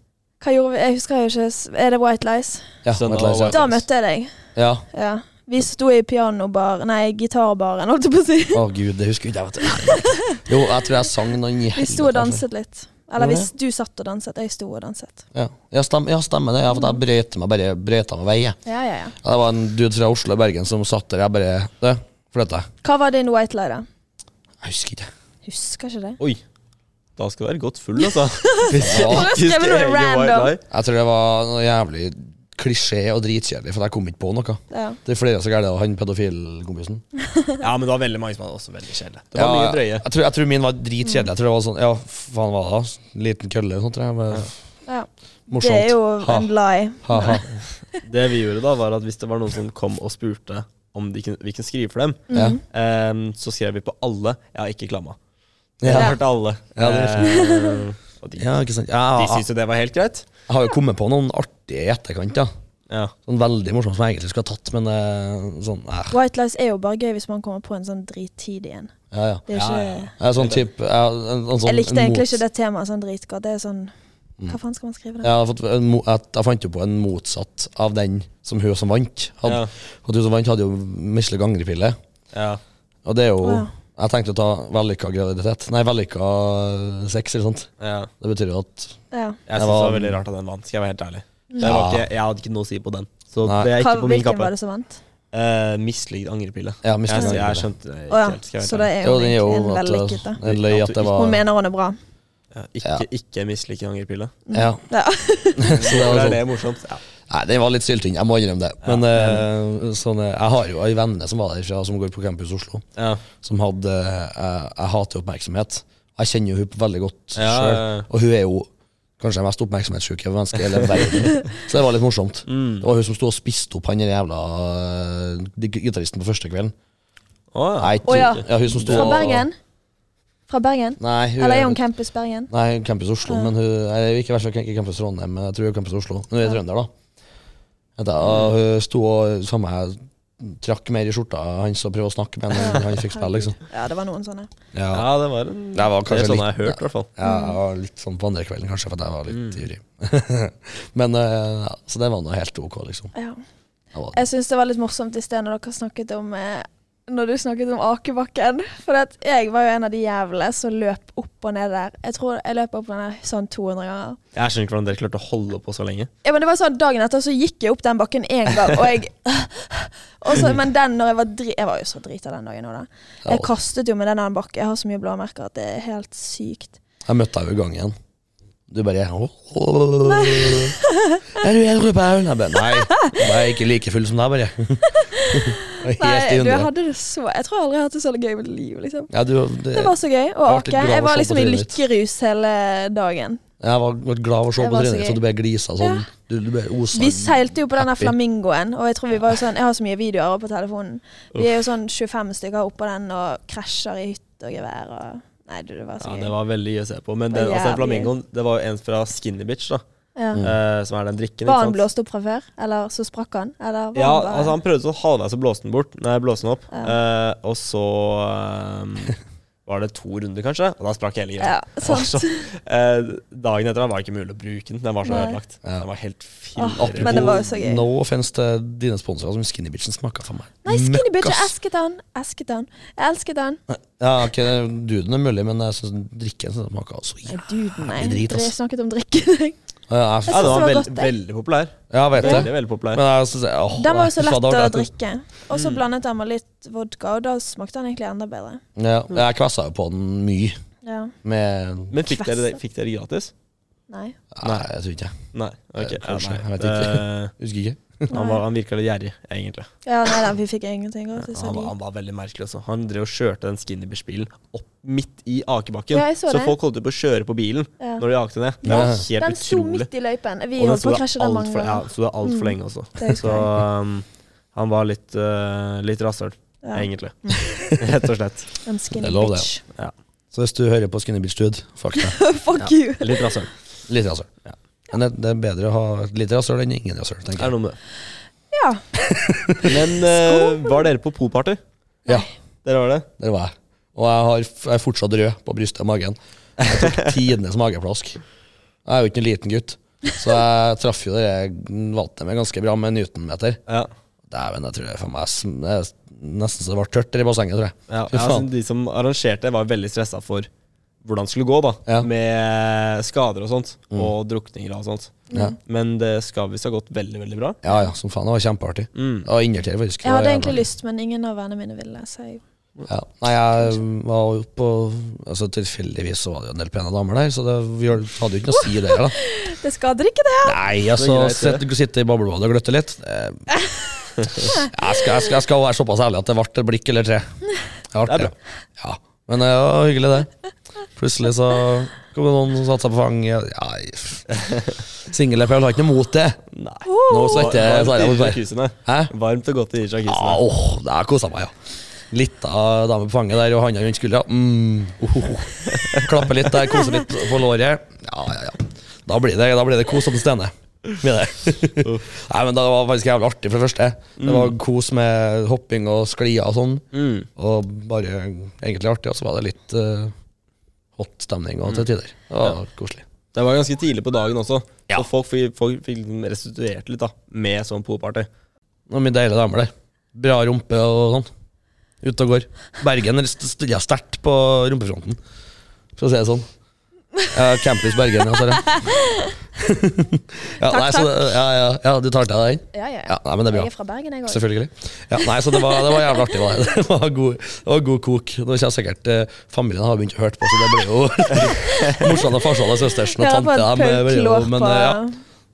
Speaker 4: Hva gjorde vi? Jeg husker jo ikke Er det White Lies?
Speaker 1: Ja,
Speaker 3: Sønnen
Speaker 1: White Lies,
Speaker 3: var-
Speaker 1: ja.
Speaker 4: Da møtte jeg deg.
Speaker 1: ja.
Speaker 4: Ja. Vi sto i pianobar Nei, gitarbaren, holdt jeg på å si.
Speaker 1: Å gud, det husker jeg ikke. jeg vet. Jo, jeg tror jeg sang noen i
Speaker 4: Vi sto og
Speaker 1: helvete, altså.
Speaker 4: danset litt. Eller
Speaker 1: Gjorde
Speaker 4: hvis du satt og danset, jeg sto og danset.
Speaker 1: Ja, ja, stem, ja stemmer det. Ja, for jeg brøyta meg bare brøyta meg vei. jeg.
Speaker 4: Ja, ja, ja.
Speaker 1: Ja, det var en dude fra Oslo og Bergen som satt der. Jeg bare Du, flytt deg.
Speaker 4: Hva var din white lie, da?
Speaker 1: Jeg husker ikke.
Speaker 4: Husker ikke det.
Speaker 3: Oi. Da skal du være godt full, altså.
Speaker 1: Ja,
Speaker 4: Skrev du noe random?
Speaker 1: jeg tror det var noe jævlig klisjé og dritkjedelig, for jeg kom ikke på noe.
Speaker 4: Ja.
Speaker 1: Det flira så gærent av han pedofilkompisen.
Speaker 3: Ja, men det var veldig mange som var også veldig kjedelig. Det
Speaker 1: Ja,
Speaker 3: var mye drøye.
Speaker 1: Jeg tror, jeg tror min var dritkjedelig. Jeg tror det var sånn Ja, faen hva da? Liten kølle og sånt. tror Jeg. Men,
Speaker 4: Ja. Det
Speaker 1: morsomt.
Speaker 4: er jo
Speaker 1: Ha,
Speaker 4: en Mm. lie.
Speaker 1: ha, ha.
Speaker 3: Det vi gjorde da, var at hvis det var noen som kom og spurte om de kunne, vi kunne skrive for dem.
Speaker 1: Ja.
Speaker 4: Mhm.
Speaker 3: Ehm, så skrev vi på alle. Jeg har ikke klamma. Jeg har
Speaker 1: Ja,
Speaker 3: hørt alle.
Speaker 1: Ja, det
Speaker 3: Ehm, og de,
Speaker 1: ja ikke sant. Ja,
Speaker 3: de
Speaker 1: jeg,
Speaker 3: syntes jo det var helt greit.
Speaker 1: jeg har jo kommet på noen artige i etterkant, ja.
Speaker 3: Ja.
Speaker 1: Sånn veldig morsomt som jeg egentlig skulle ha tatt, men eh, sånn eh,
Speaker 4: White lies er jo bare gøy hvis man kommer på en sånn drittid igjen.
Speaker 1: Ja, ja.
Speaker 4: Det er
Speaker 3: Ja,
Speaker 4: ikke,
Speaker 3: ja, ja.
Speaker 1: Jeg er sånn typ Jeg, en, en sånn,
Speaker 4: jeg likte
Speaker 1: en
Speaker 4: egentlig
Speaker 1: mot-
Speaker 4: ikke det temaet sånn dritgodt. Det er sånn Hva faen skal man skrive
Speaker 1: Ja,
Speaker 4: da?
Speaker 1: Jeg, har fått en, mo- at jeg fant jo på en motsatt av den som hun som vant. Hadde.
Speaker 3: Ja.
Speaker 1: Og du som vant, hadde jo Misle gangrepille.
Speaker 3: Ja.
Speaker 1: Og det er jo
Speaker 4: Å, ja.
Speaker 1: Jeg tenkte å ta vellykka graviditet. Nei, vellykka sex, eller sånt.
Speaker 3: ja.
Speaker 1: Det betyr jo at
Speaker 4: Ja.
Speaker 3: Jeg
Speaker 1: Det
Speaker 3: syns det
Speaker 1: var-
Speaker 3: var veldig rart at den vant, skal jeg være helt ærlig. Det
Speaker 1: Ja.
Speaker 3: var ikke, jeg hadde ikke noe å si på den. Så
Speaker 1: Nei.
Speaker 3: det er ikke
Speaker 4: Hva-
Speaker 3: på min
Speaker 4: Hvilken
Speaker 3: kappe.
Speaker 4: var det som vant?
Speaker 3: Eh, mislikt angrepille.
Speaker 1: Ja, Misle
Speaker 3: Jeg, jeg
Speaker 1: gangrepille.
Speaker 3: skjønte det
Speaker 4: Å
Speaker 3: ikke
Speaker 4: ja.
Speaker 3: helt. Skal jeg være
Speaker 4: Så det
Speaker 3: helt
Speaker 4: er
Speaker 1: Jo,
Speaker 4: jo altså.
Speaker 1: den er jo
Speaker 4: egentlig en
Speaker 1: at,
Speaker 4: vellykket, da.
Speaker 1: en løy at det var
Speaker 4: Hun mener hun er bra.
Speaker 3: ærlig. Ja, ikke ikke mislike angrepille.
Speaker 1: Ja.
Speaker 4: Ja.
Speaker 1: Så det
Speaker 3: For
Speaker 1: var sånn.
Speaker 3: er det morsomt. Ja.
Speaker 1: Nei, den var litt syltynn, jeg må innrømme det. Men eh, sånn, eh, jeg har jo ei venninne som var derfra, som går på campus Oslo,
Speaker 3: Ja.
Speaker 1: som hadde eh, Jeg, jeg hater jo oppmerksomhet. Jeg kjenner jo hun veldig godt
Speaker 3: Ja,
Speaker 1: sjøl,
Speaker 3: ja, ja.
Speaker 1: og hun er jo kanskje det mest oppmerksomhetssjuke mennesket i hele verden. Så det var litt morsomt.
Speaker 3: Mm.
Speaker 1: Det var hun som sto og spiste opp han der jævla eh, gi- gitaristen på første kvelden.
Speaker 3: Å, ja.
Speaker 1: Nei,
Speaker 4: Å, ja.
Speaker 1: ja, hun som sto
Speaker 4: Fra
Speaker 1: og-
Speaker 4: Bergen? Fra Bergen?
Speaker 1: Nei, hun
Speaker 4: Eller er hun Campus Bergen?
Speaker 1: Nei, Campus Oslo, men hun er jo ikke, i hvert fall ikke Campus Trondheim, men jeg tror hun er Campus Oslo. Men hun er trønder, da. Vet jeg, og hun sto og samme jeg trakk mer i skjorta hans og prøvde å snakke med henne enn han fikk spille, liksom.
Speaker 4: Ja, det var noen sånne.
Speaker 1: Ja,
Speaker 3: ja, det var en
Speaker 1: Det var kanskje
Speaker 3: det er sånn jeg
Speaker 1: litt-
Speaker 3: har hørt, i hvert fall.
Speaker 1: ja, jeg var litt sånn på andre kvelden, kanskje, for at jeg var litt ivrig. men eh, ja, Så det var nå helt ok, liksom.
Speaker 4: Ja.
Speaker 1: Det var-
Speaker 4: Jeg syns det var litt morsomt i sted når dere snakket om eh, når du snakket om akebakken. For at jeg var jo en av de jævlene som løp opp og ned der. Jeg tror jeg løp opp og ned sånn 200 ganger.
Speaker 3: Jeg skjønner ikke hvordan dere klarte å holde på så lenge.
Speaker 4: Ja, men det var sånn Dagen etter så gikk jeg opp den bakken én gang, og jeg og så, Men den når jeg var dri... Jeg var jo så drita den dagen òg, da. Jeg
Speaker 1: Ja.
Speaker 4: kastet jo med den der bakken. Jeg har så mye blåmerker at det er helt sykt.
Speaker 1: Jeg møtte deg jo i gangen. Du bare Er du edru på øynene? Jeg bare, Nei, jeg er ikke like full som deg, bare. Helt i
Speaker 4: Nei, du, jeg
Speaker 1: hundre.
Speaker 4: hadde det så Jeg tror aldri jeg har hatt det så gøy i mitt liv, liksom.
Speaker 1: Ja, du, det,
Speaker 4: Det var så gøy å
Speaker 1: Jeg ble
Speaker 4: ake.
Speaker 1: glad av å
Speaker 4: Jeg
Speaker 1: se
Speaker 4: var
Speaker 1: på
Speaker 4: liksom i
Speaker 1: trynet ditt.
Speaker 4: lykkerus hele dagen.
Speaker 1: Jeg var var glad av å se
Speaker 4: Det
Speaker 1: på
Speaker 4: var så
Speaker 1: trynet ditt, så
Speaker 4: gøy.
Speaker 1: du ble glisa sånn.
Speaker 4: Ja.
Speaker 1: Du, du ble osa.
Speaker 4: Vi seilte jo på den der
Speaker 1: Sånn happy.
Speaker 4: flamingoen, og jeg tror vi var jo sånn Jeg har så mye videoer på telefonen. Vi er jo sånn 25 stykker oppå den og krasjer i hytt og gevær og Nei, du, det var så
Speaker 3: Ja,
Speaker 4: gøy.
Speaker 3: Det var veldig gøy å se på. Men
Speaker 4: Det
Speaker 3: den,
Speaker 4: var
Speaker 3: altså, den
Speaker 4: jævlig gøy.
Speaker 3: flamingoen, det var jo en fra Skinny Bitch, da.
Speaker 4: Ja.
Speaker 1: Mm.
Speaker 3: eh, som er den drikken.
Speaker 4: Var han
Speaker 3: ikke sant?
Speaker 4: blåst opp fra før, eller så sprakk han? Eller var
Speaker 3: Ja,
Speaker 4: han bare
Speaker 3: altså han prøvde sånn halvveis å blåse den bort. Nei, blåse den opp. Eh, og så eh, var det to runder, kanskje, og da sprakk hele greia.
Speaker 4: Ja, sånn.
Speaker 3: Og
Speaker 4: sant.
Speaker 3: så, eh, dagen etter var det ikke mulig å bruke den. Den var så
Speaker 4: Nei.
Speaker 3: ødelagt.
Speaker 1: Ja.
Speaker 3: Den var helt
Speaker 4: Åh,
Speaker 3: filler.
Speaker 4: men det var jo så gøy.
Speaker 1: No offense til dine sponsorer, som Skinny Bitchen smaka for meg.
Speaker 4: Nei, skinny bitch, jeg
Speaker 1: Møkkas.
Speaker 4: elsket han. Elsket han. Jeg elsket han.
Speaker 1: Ja, ok, Duden er mulig, men jeg synes drikken synes jeg smaka så jævlig
Speaker 4: Nei, duden, nei.
Speaker 1: Det er drit,
Speaker 4: Dere
Speaker 1: ass.
Speaker 4: snakket om drikken.
Speaker 1: Ja, jeg-
Speaker 3: Ja, den
Speaker 4: synes
Speaker 3: var
Speaker 4: det var
Speaker 3: veld,
Speaker 4: godt, jeg.
Speaker 3: veldig populær.
Speaker 1: Ja, jeg vet
Speaker 3: Veldig,
Speaker 1: det.
Speaker 3: veldig populær.
Speaker 1: Men jeg synes jeg, åh,
Speaker 4: Den var jo så
Speaker 1: fy faen,
Speaker 4: lett
Speaker 1: det
Speaker 4: å
Speaker 1: var-
Speaker 3: altså.
Speaker 4: drikke. Og
Speaker 3: Mm.
Speaker 4: så blandet han med litt vodka, og da smakte han egentlig enda bedre.
Speaker 1: Ja, jeg kvessa jo på den mye.
Speaker 4: Ja.
Speaker 1: Med
Speaker 3: Men fikk dere,
Speaker 4: Kvesse.
Speaker 3: fikk dere gratis?
Speaker 4: Nei.
Speaker 1: Nei, jeg tror ikke jeg.
Speaker 3: Nei. ok.
Speaker 1: Eh,
Speaker 3: Ja,
Speaker 1: kanskje,
Speaker 3: nei.
Speaker 1: jeg vet
Speaker 3: Det-
Speaker 1: Husker ikke.
Speaker 3: Eh, han, var, han virka litt gjerrig, egentlig.
Speaker 4: Ja, nei, den, vi fikk ingenting gratis.
Speaker 3: Han
Speaker 4: av
Speaker 3: var,
Speaker 4: de.
Speaker 3: han var veldig merkelig også. Han drev og kjørte den Skinny Bitch-bilen opp midt i akebakken.
Speaker 4: Ja, jeg så
Speaker 3: så
Speaker 4: det.
Speaker 3: folk holdt på å kjøre på bilen
Speaker 4: Ja.
Speaker 3: når de jakte ned. Det var
Speaker 1: Ja.
Speaker 3: helt
Speaker 4: Den sto
Speaker 3: utrolig.
Speaker 4: midt i løypen. Vi
Speaker 3: Og den
Speaker 4: holdt
Speaker 3: sto
Speaker 4: på å
Speaker 3: der
Speaker 4: krasje den mange
Speaker 3: altfor ja,
Speaker 4: ganger. Mm.
Speaker 3: sto der alt for lenge også.
Speaker 4: Det husker
Speaker 3: Så um, han var litt, uh, litt rasshøl,
Speaker 4: Ja. Mm.
Speaker 3: egentlig. Rett og slett.
Speaker 4: En skinny
Speaker 1: Det er lov, det.
Speaker 4: bitch.
Speaker 1: Så hvis du hører på Skinny Bitch Dude, fuck deg.
Speaker 4: Fuck you!
Speaker 3: Litt rasshøl.
Speaker 1: Litt rasshøl.
Speaker 3: Ja.
Speaker 1: Men det, det er bedre å ha et lite rasshøl enn ingen rasshøl, tenker jeg.
Speaker 3: Er det noe med det?
Speaker 4: Ja.
Speaker 3: Men uh, var dere på polparty?
Speaker 1: Ja.
Speaker 3: Dere var det?
Speaker 1: Der var jeg. Og jeg, har, f- jeg er fortsatt rød på brystet og magen. Jeg tok tidenes mageplask. Jeg er jo ikke en liten gutt, så jeg traff jo det jeg vant med ganske bra med Newton-meter.
Speaker 3: Ja.
Speaker 1: Dæven, jeg tror det er faen meg sm- det er nesten så det ble tørt der i bassenget, tror jeg.
Speaker 3: ja.
Speaker 1: Fy
Speaker 3: altså,
Speaker 1: faen.
Speaker 3: de som arrangerte, var veldig stressa for hvordan det skulle gå, da.
Speaker 1: Ja. Mm.
Speaker 3: Med skader og sånt. Og drukninger og sånt.
Speaker 4: Mm.
Speaker 1: Ja.
Speaker 3: Men det skal visst ha gått veldig, veldig bra.
Speaker 1: Ja ja, som faen. Det var kjempeartig.
Speaker 3: Mm.
Speaker 1: Det var innertier, faktisk. Det
Speaker 4: Jeg
Speaker 1: var
Speaker 4: hadde
Speaker 1: jævla
Speaker 4: egentlig
Speaker 1: artig.
Speaker 4: lyst, men ingen av vennene mine ville. Så jeg,
Speaker 1: Ja. Nei, jeg var jo på Altså Tilfeldigvis så var det jo en del pene damer der, så det vi hadde jo ikke noe å si der, da.
Speaker 4: det skader ikke, det!
Speaker 1: Nei, altså,
Speaker 3: greit,
Speaker 1: sitte, sitte i boblebadet og gløtte litt eh, jeg, skal, jeg, skal, jeg skal være såpass ærlig at det ble et blikk eller tre. Det ble
Speaker 3: Det er
Speaker 1: det. Ja, men det var hyggelig, det. Plutselig så kom det noen som satte seg på fanget. Ja, Singel-EPL har ikke noe mot det.
Speaker 3: Nei.
Speaker 1: Nå svetter jeg. Sara,
Speaker 3: Varmt i
Speaker 1: hvorfor?
Speaker 3: jacuzzien, da.
Speaker 1: Hæ?
Speaker 3: Varmt og godt i jacuzzien.
Speaker 1: Ja,
Speaker 3: da.
Speaker 1: Ah, åh, det har kosa meg, ja. Lita dame på fanget der og handa rundt skuldra. Mm. Oh, oh, oh. Klappe litt der, kose litt på låret. Ja, ja, ja. Da blir det, da blir det kos opp til Stene. Blir det. Nei, men Det var faktisk jævlig artig, for det første. Det var kos med hopping og sklier og sånn.
Speaker 3: Mm.
Speaker 1: Og bare egentlig artig, og så var det litt eh, hot stemning og til tider. Det var koselig.
Speaker 3: Det var ganske tidlig på dagen også,
Speaker 1: Ja.
Speaker 3: så folk, fikk- folk fikk liksom restituert litt da, med sånn poolparty.
Speaker 1: Noen mye deilige damer der. Bra rumpe og sånn. Ute og går. Bergen er st- stiller sterkt på rumpefronten, for å si det sånn. Ja, Campus Bergen, ja. Sara. ja,
Speaker 4: Takk,
Speaker 1: nei, så det- ja, ja, ja, du tar til deg den?
Speaker 4: Ja, ja,
Speaker 1: Ja, nei, men det er bra.
Speaker 4: Jeg er fra Bergen, jeg òg.
Speaker 1: Selvfølgelig. Ja, nei, så det var, det var jævlig artig. var Det Det var god, det var god kok. Nå kommer sikkert eh, Familien har begynt å høre på, så det ble jo morsan og farsan og søstersen og
Speaker 4: Jeg har
Speaker 1: tante.
Speaker 4: fått
Speaker 1: dem, eh, ble jo-
Speaker 4: pølklår
Speaker 1: Men
Speaker 4: på
Speaker 1: eh, ja.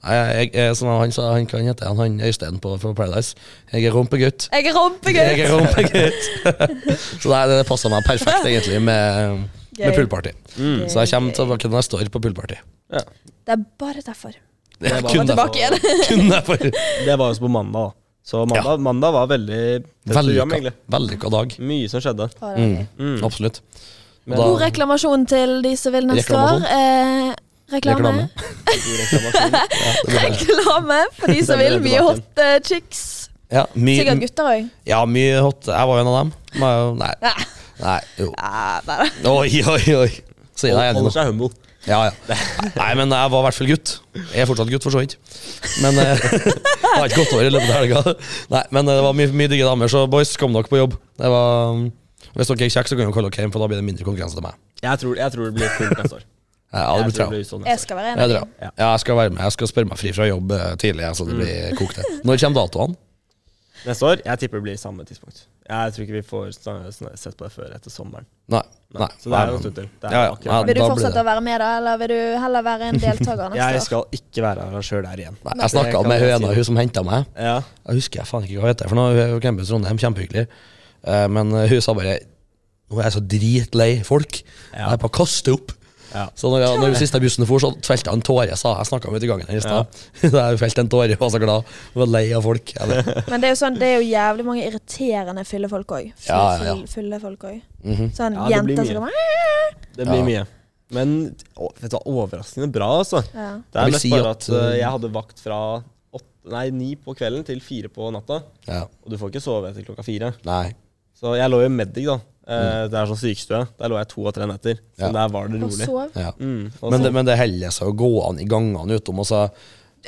Speaker 1: Nei, jeg, jeg, som han sa, han kan hete han, han Øystein på, fra Paradise. Jeg er rumpegutt.
Speaker 4: Jeg er
Speaker 1: Jeg er
Speaker 4: rumpegutt!
Speaker 1: rumpegutt. så nei, det passa meg perfekt, egentlig, med, med poolparty.
Speaker 3: Mm.
Speaker 1: Så jeg kommer tilbake neste år på poolparty.
Speaker 3: Ja.
Speaker 4: Det er bare derfor.
Speaker 3: Det var-
Speaker 1: Kun
Speaker 4: Og
Speaker 1: derfor.
Speaker 4: tilbake igjen.
Speaker 1: Kun derfor.
Speaker 3: Det var også på mandag, da. Så mandag, mandag var veldig tett program,
Speaker 1: Vellykka
Speaker 3: egentlig.
Speaker 1: vellykka dag.
Speaker 3: Mye som skjedde.
Speaker 1: Mm.
Speaker 3: Mm.
Speaker 1: Absolutt. Og
Speaker 4: God
Speaker 1: da,
Speaker 4: reklamasjon til de som vil neste år.
Speaker 1: Reklamasjon?
Speaker 4: Eh, reklame.
Speaker 1: Reklame.
Speaker 3: God reklamasjon.
Speaker 4: Reklame for de som
Speaker 3: Den er
Speaker 4: vil.
Speaker 3: tilbake.
Speaker 4: Mye hot eh, chicks.
Speaker 1: ja, mye,
Speaker 4: Sikkert gutter òg.
Speaker 1: ja, mye hot. Jeg var jo en av dem. Var jo- Nei. Nei, jo.
Speaker 4: Ah,
Speaker 1: Oi, oi, oi. Sier deg enig
Speaker 3: Holder
Speaker 1: nå.
Speaker 3: seg humble.
Speaker 1: Ja, ja. Nei, men jeg var i hvert fall gutt. Jeg er fortsatt gutt, for så vidt. Men eh, det har ikke gått over i løpet av helga. Nei, men eh, det var mye, mye digge damer, så boys, kom dere på jobb. Det var, um, hvis dere er kjekke, så kan dere kalle dere hjem, for da blir det mindre konkurranse til meg.
Speaker 3: Jeg tror, jeg tror det blir fullt neste år.
Speaker 1: Ja, det blir
Speaker 3: Jeg
Speaker 1: altså.
Speaker 3: tror
Speaker 1: trav.
Speaker 3: det blir sånn
Speaker 4: Jeg
Speaker 3: neste år.
Speaker 4: skal være
Speaker 1: Jeg,
Speaker 4: enig.
Speaker 1: drar. ja, jeg skal være med. Jeg skal spørre meg fri fra jobb eh, tidlig, ja, så
Speaker 3: Mm.
Speaker 1: det blir kokt. det. Når kommer datoene?
Speaker 3: Neste år, jeg tipper det blir samme tidspunkt. Jeg tror ikke vi får sn- sn- sett på det før etter sommeren.
Speaker 1: Nei.
Speaker 3: Nei.
Speaker 1: Nei.
Speaker 3: Så det er jo
Speaker 1: Nei,
Speaker 3: en stund til. Det er
Speaker 1: Ja, ja.
Speaker 3: akkurat.
Speaker 4: Vil du
Speaker 1: da blir
Speaker 4: fortsette
Speaker 1: det.
Speaker 4: å være med, da, eller vil du heller være en
Speaker 3: Jeg
Speaker 4: deltaker neste år?
Speaker 3: skal ikke være arrangør der igjen.
Speaker 1: Nei,
Speaker 3: Det
Speaker 1: jeg snakka
Speaker 3: kan
Speaker 1: med
Speaker 3: jeg
Speaker 1: høna,
Speaker 3: si.
Speaker 1: hun som henta meg.
Speaker 3: Ja.
Speaker 1: Jeg husker jeg faen ikke hva hun heter, for nå hun er jo campus Trondheim, kjempehyggelig. Eh, Men eh, hun sa bare Nå er jeg så dritlei folk. Jeg
Speaker 3: Ja.
Speaker 1: er på å kaste opp.
Speaker 3: Ja.
Speaker 1: Så når, jeg, når den siste bussen for, så felte jeg en tåre. sa Jeg Jeg snakka med henne i gangen her i stad. Da jeg felte en tåre, var så glad. Jeg var lei av folk. Jeg vet.
Speaker 4: Men det er jo sånn, det er jo jævlig mange irriterende fyllefolk òg.
Speaker 1: Ja, ja, ja.
Speaker 4: Fylle folk òg.
Speaker 1: Mhm.
Speaker 4: Sånn
Speaker 3: Ja, det blir
Speaker 4: jenter
Speaker 3: mye.
Speaker 4: som
Speaker 3: Det blir
Speaker 1: Ja.
Speaker 3: mye. Men å, vet du, hva, overraskende bra, altså.
Speaker 4: ja.
Speaker 3: Det er
Speaker 1: vil
Speaker 3: mest
Speaker 1: si
Speaker 3: bare
Speaker 1: at,
Speaker 3: at eh,
Speaker 1: eh,
Speaker 3: jeg hadde vakt fra åtte, nei, ni på kvelden til fire på natta.
Speaker 1: Ja.
Speaker 3: Og du får ikke sove til klokka fire.
Speaker 1: Nei.
Speaker 3: Så jeg lå jo i Medic, da. Eh, Det er sånn sykestue. Der lå jeg to og tre netter. Så
Speaker 1: Mm. Ja.
Speaker 3: der var det
Speaker 4: Og
Speaker 3: rolig.
Speaker 4: sov.
Speaker 1: Ja.
Speaker 3: Mm, og
Speaker 1: Men
Speaker 3: så-
Speaker 1: det, men det holder seg å gå an i gangene altså, utom, og så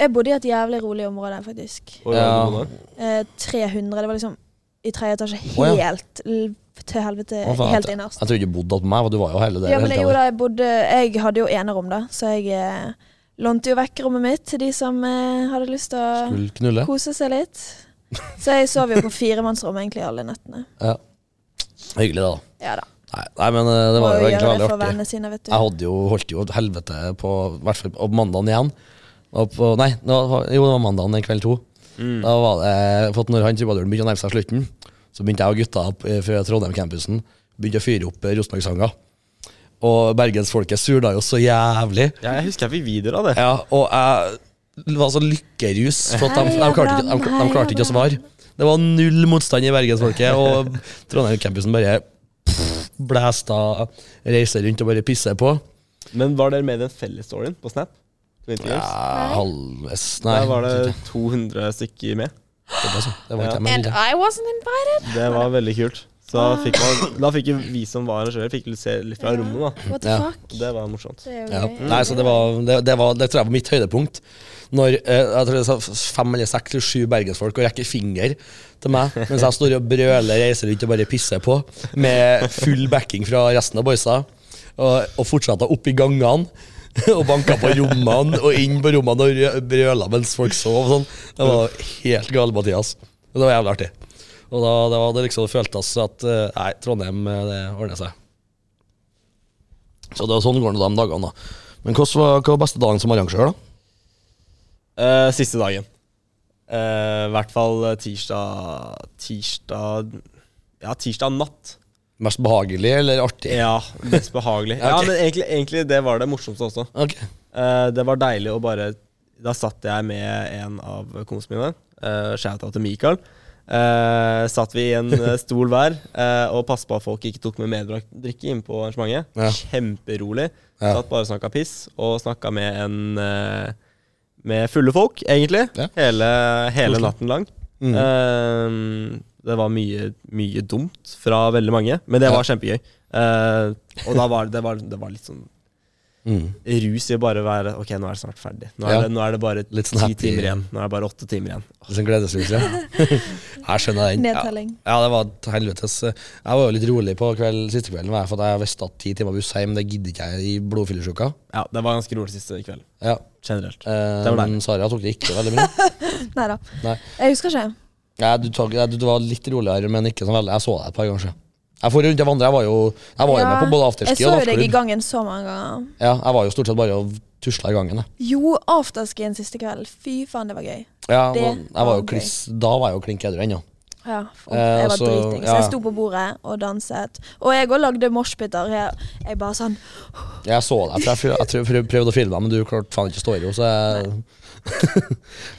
Speaker 4: Jeg bodde i et jævlig rolig område, faktisk.
Speaker 3: og
Speaker 1: Ja.
Speaker 3: og-
Speaker 4: Eh, 300. Det var liksom i tredje etasje
Speaker 1: Å, ja.
Speaker 4: helt l- til helvete,
Speaker 1: Å, faen,
Speaker 4: helt
Speaker 1: jeg-
Speaker 4: innerst.
Speaker 1: Jeg trodde du bodde hos meg, for du var jo hele der.
Speaker 4: Ja, men
Speaker 1: hele
Speaker 4: jeg, jo
Speaker 1: tiden.
Speaker 4: da, jeg, bodde, jeg hadde jo enerom, da, så jeg eh, lånte jo vekk rommet mitt til de som eh, hadde lyst til å
Speaker 1: Skulle knulle.
Speaker 4: kose seg litt. Så jeg sov jo på firemannsrom egentlig alle nettene.
Speaker 1: Ja. Hyggelig, det, da.
Speaker 4: Ja da.
Speaker 1: Nei, nei men eh, det var
Speaker 4: Må
Speaker 1: jo
Speaker 4: gjøre
Speaker 1: egentlig veldig
Speaker 4: for
Speaker 1: artig.
Speaker 4: vennene sine, vet du.
Speaker 1: Jeg hadde jo, holdt jo et helvete på hvert fall på mandagen igjen. Og på, nei, det var, jo, det var mandagen den kveld to. Da var det, for at når han trubaduren begynte å nærme seg slutten, så begynte jeg og gutta opp, eh, fra Trondheim-campusen begynte å fyre opp eh, Rosenborg-sanger. Og bergensfolket surna jo så jævlig.
Speaker 3: Ja, jeg husker jeg fikk videoer av det.
Speaker 1: Ja, og jeg var så lykkerus, for at de, de,
Speaker 4: Heia
Speaker 1: klarte, ikke- de,
Speaker 4: Brann,
Speaker 1: de klarte ikke å
Speaker 4: heia
Speaker 1: svare. Det var null motstand i bergensfolket, og Trondheim-campusen bare pff, blæsta, reiser rundt og bare pisser på.
Speaker 3: Men var dere med i den fellesstoryen på Snap? På Interviews?
Speaker 1: Ja,
Speaker 4: Nei.
Speaker 1: halvveis Nei,
Speaker 3: Der var det 200 stykker med.
Speaker 1: såpass, ja. det var ikke
Speaker 3: Ja.
Speaker 1: jeg med.
Speaker 4: I wasn't invited.
Speaker 3: Det var veldig kult. Så fikk man, da fikk jo vi som var arrangører, fikk litt se litt fra rommet, da.
Speaker 4: What the
Speaker 1: Ja.
Speaker 4: fuck?
Speaker 3: Og det var morsomt.
Speaker 4: Det er jo
Speaker 1: Ja.
Speaker 4: gøy.
Speaker 1: Nei, så det var Det, det, var, det tror jeg var mitt høydepunkt. Når eh, jeg tror det sa f- fem eller seks eller sju bergensfolk og rekker finger til meg mens jeg står og brøler, reiser rundt og bare pisser på, med full backing fra resten av boysa, og, og fortsetter opp i gangene. og banka på rommene og inn på rommene og rø- brøla mens folk sov. og Sånn. Det var helt gale, Mathias. Og Det var jævlig artig. Og da det var det liksom det føltes at eh, Nei, Trondheim, eh, det ordner seg. Så det var sånn går det de dagene, da. Men hvordan var, hva var beste dagen som arrangør, da?
Speaker 3: Eh, siste dagen. Eh, I hvert fall tirsdag Tirsdag Ja, tirsdag natt.
Speaker 1: Mest behagelig eller artig?
Speaker 3: Ja, mest behagelig. Ja,
Speaker 1: Ok.
Speaker 3: men egentlig, egentlig det var det morsomste også.
Speaker 1: Ok.
Speaker 3: Eh, det var deilig å bare da satt jeg med en av kompisene mine, uh, shout-out til Mikael. Eh, satt vi i en eh, stol hver eh, og passet på at folk ikke tok med meddrikke inn på arrangementet.
Speaker 1: Ja.
Speaker 3: Kjemperolig.
Speaker 1: Ja.
Speaker 3: Satt bare og snakka piss, og snakka med en eh, Med fulle folk, egentlig.
Speaker 1: Ja.
Speaker 3: Hele, hele
Speaker 1: Koselig.
Speaker 3: natten lang.
Speaker 1: Mm.
Speaker 3: Eh, det var mye, mye dumt fra veldig mange, men det
Speaker 1: Ja.
Speaker 3: var kjempegøy. Eh, og da var det, det, var, det var litt sånn
Speaker 1: Mm.
Speaker 3: rus i å bare være Ok, nå er det snart ferdig. Nå er,
Speaker 1: Ja.
Speaker 3: det, nå er det bare
Speaker 1: Litt
Speaker 3: ti
Speaker 1: sånn happy-
Speaker 3: timer igjen. Nå er det bare åtte timer igjen.
Speaker 1: Litt sånn gledesrus, ja. Jeg skjønner den. Ja.
Speaker 4: Nedtelling.
Speaker 1: Ja, det var et helvetes eh, Jeg var jo litt rolig på kveld, siste kvelden, var jeg, for at jeg visste at ti timer buss hjem, det gidder ikke jeg i blodfyllesyka.
Speaker 3: Ja, det var ganske rolig siste kveld.
Speaker 1: Ja.
Speaker 3: Generelt.
Speaker 1: Eh,
Speaker 3: Det var deg.
Speaker 1: men Sara tok det ikke veldig mye.
Speaker 4: Nei da.
Speaker 1: Nei.
Speaker 4: Jeg husker ikke.
Speaker 1: Nei, du, tok, nei, du, du var litt roligere, men ikke sånn veldig. Jeg så deg et par ganger. siden. Jeg for rundt, jeg vandret, jeg var jo, jeg var jo med på både
Speaker 4: jeg
Speaker 1: afterski
Speaker 4: så
Speaker 1: og
Speaker 4: jo deg i
Speaker 1: nattklubb.
Speaker 4: gangen så mange ganger.
Speaker 1: Ja, jeg var jo stort sett bare og tusla i gangen. jeg.
Speaker 4: Jo, afterskien siste kveld. Fy faen, det var gøy.
Speaker 1: Ja,
Speaker 4: Det
Speaker 1: og jeg var
Speaker 4: var
Speaker 1: jo
Speaker 4: gøy.
Speaker 1: kliss, da var jeg jo klink edru ennå.
Speaker 4: Ja, for,
Speaker 1: Eh,
Speaker 4: jeg var
Speaker 1: altså,
Speaker 4: driting. Så
Speaker 1: ja.
Speaker 4: jeg sto på bordet og danset. Og jeg òg lagde moshpiter. Jeg, jeg bare sånn
Speaker 1: Jeg så deg, for jeg, prøv- jeg tror- prøv- prøvde å filme deg, men du klarte faen ikke å stå i ro, så jeg Jeg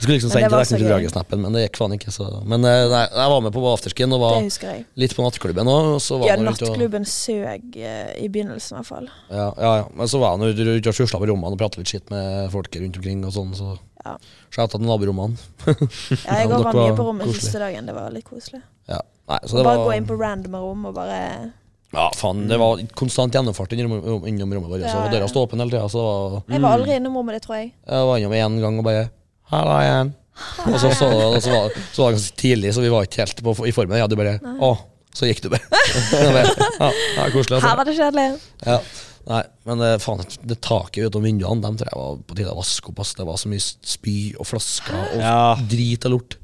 Speaker 1: skulle liksom
Speaker 4: Men det
Speaker 1: sendt
Speaker 4: var
Speaker 1: deg
Speaker 4: så
Speaker 1: til
Speaker 4: gøy.
Speaker 1: dragesnappen, men det gikk faen ikke, så Men eh, nei, jeg var med på afterskien og
Speaker 4: Det
Speaker 1: var
Speaker 4: husker jeg.
Speaker 1: litt på nattklubben òg, og så var
Speaker 4: Ja,
Speaker 1: jeg nå rundt og-
Speaker 4: nattklubben søg eh, i begynnelsen, i hvert fall.
Speaker 1: Ja, ja, ja. Men så var han ute ute og tusla på rommene og prata litt skitt med folket rundt omkring. og sånn, så...
Speaker 4: Ja.
Speaker 1: Shouta til naborommet.
Speaker 4: Ja, jeg
Speaker 1: Ja,
Speaker 4: òg
Speaker 1: dere
Speaker 4: var mye
Speaker 1: var
Speaker 4: på rommet
Speaker 1: koselig.
Speaker 4: siste dagen. Det var litt koselig.
Speaker 1: Ja. Nei, så det
Speaker 4: Bare
Speaker 1: var,
Speaker 4: gå inn på random rom og bare
Speaker 1: ja, faen, det var konstant gjennomfart innom, innom rommet vårt. så
Speaker 4: Ja, ja.
Speaker 1: Døra sto åpen hele tida. Så det var,
Speaker 4: Jeg var aldri innom rommet ditt, tror jeg.
Speaker 1: jeg var innom én gang og bare Halla igjen. Og så, så, og så, var, så var det ganske tidlig, så vi var ikke helt på, i formen. Ja, du bare Å. Så gikk du bare. Jeg bare, ja, ja, koselig.
Speaker 4: Her
Speaker 1: Altså.
Speaker 4: var det kjedelig.
Speaker 1: Ja. Nei, men eh, faen, det taket utom vinduene, dem tror jeg var på tide å vaske opp. ass. Det var så mye spy og flasker og
Speaker 3: Ja.
Speaker 1: drit og lort.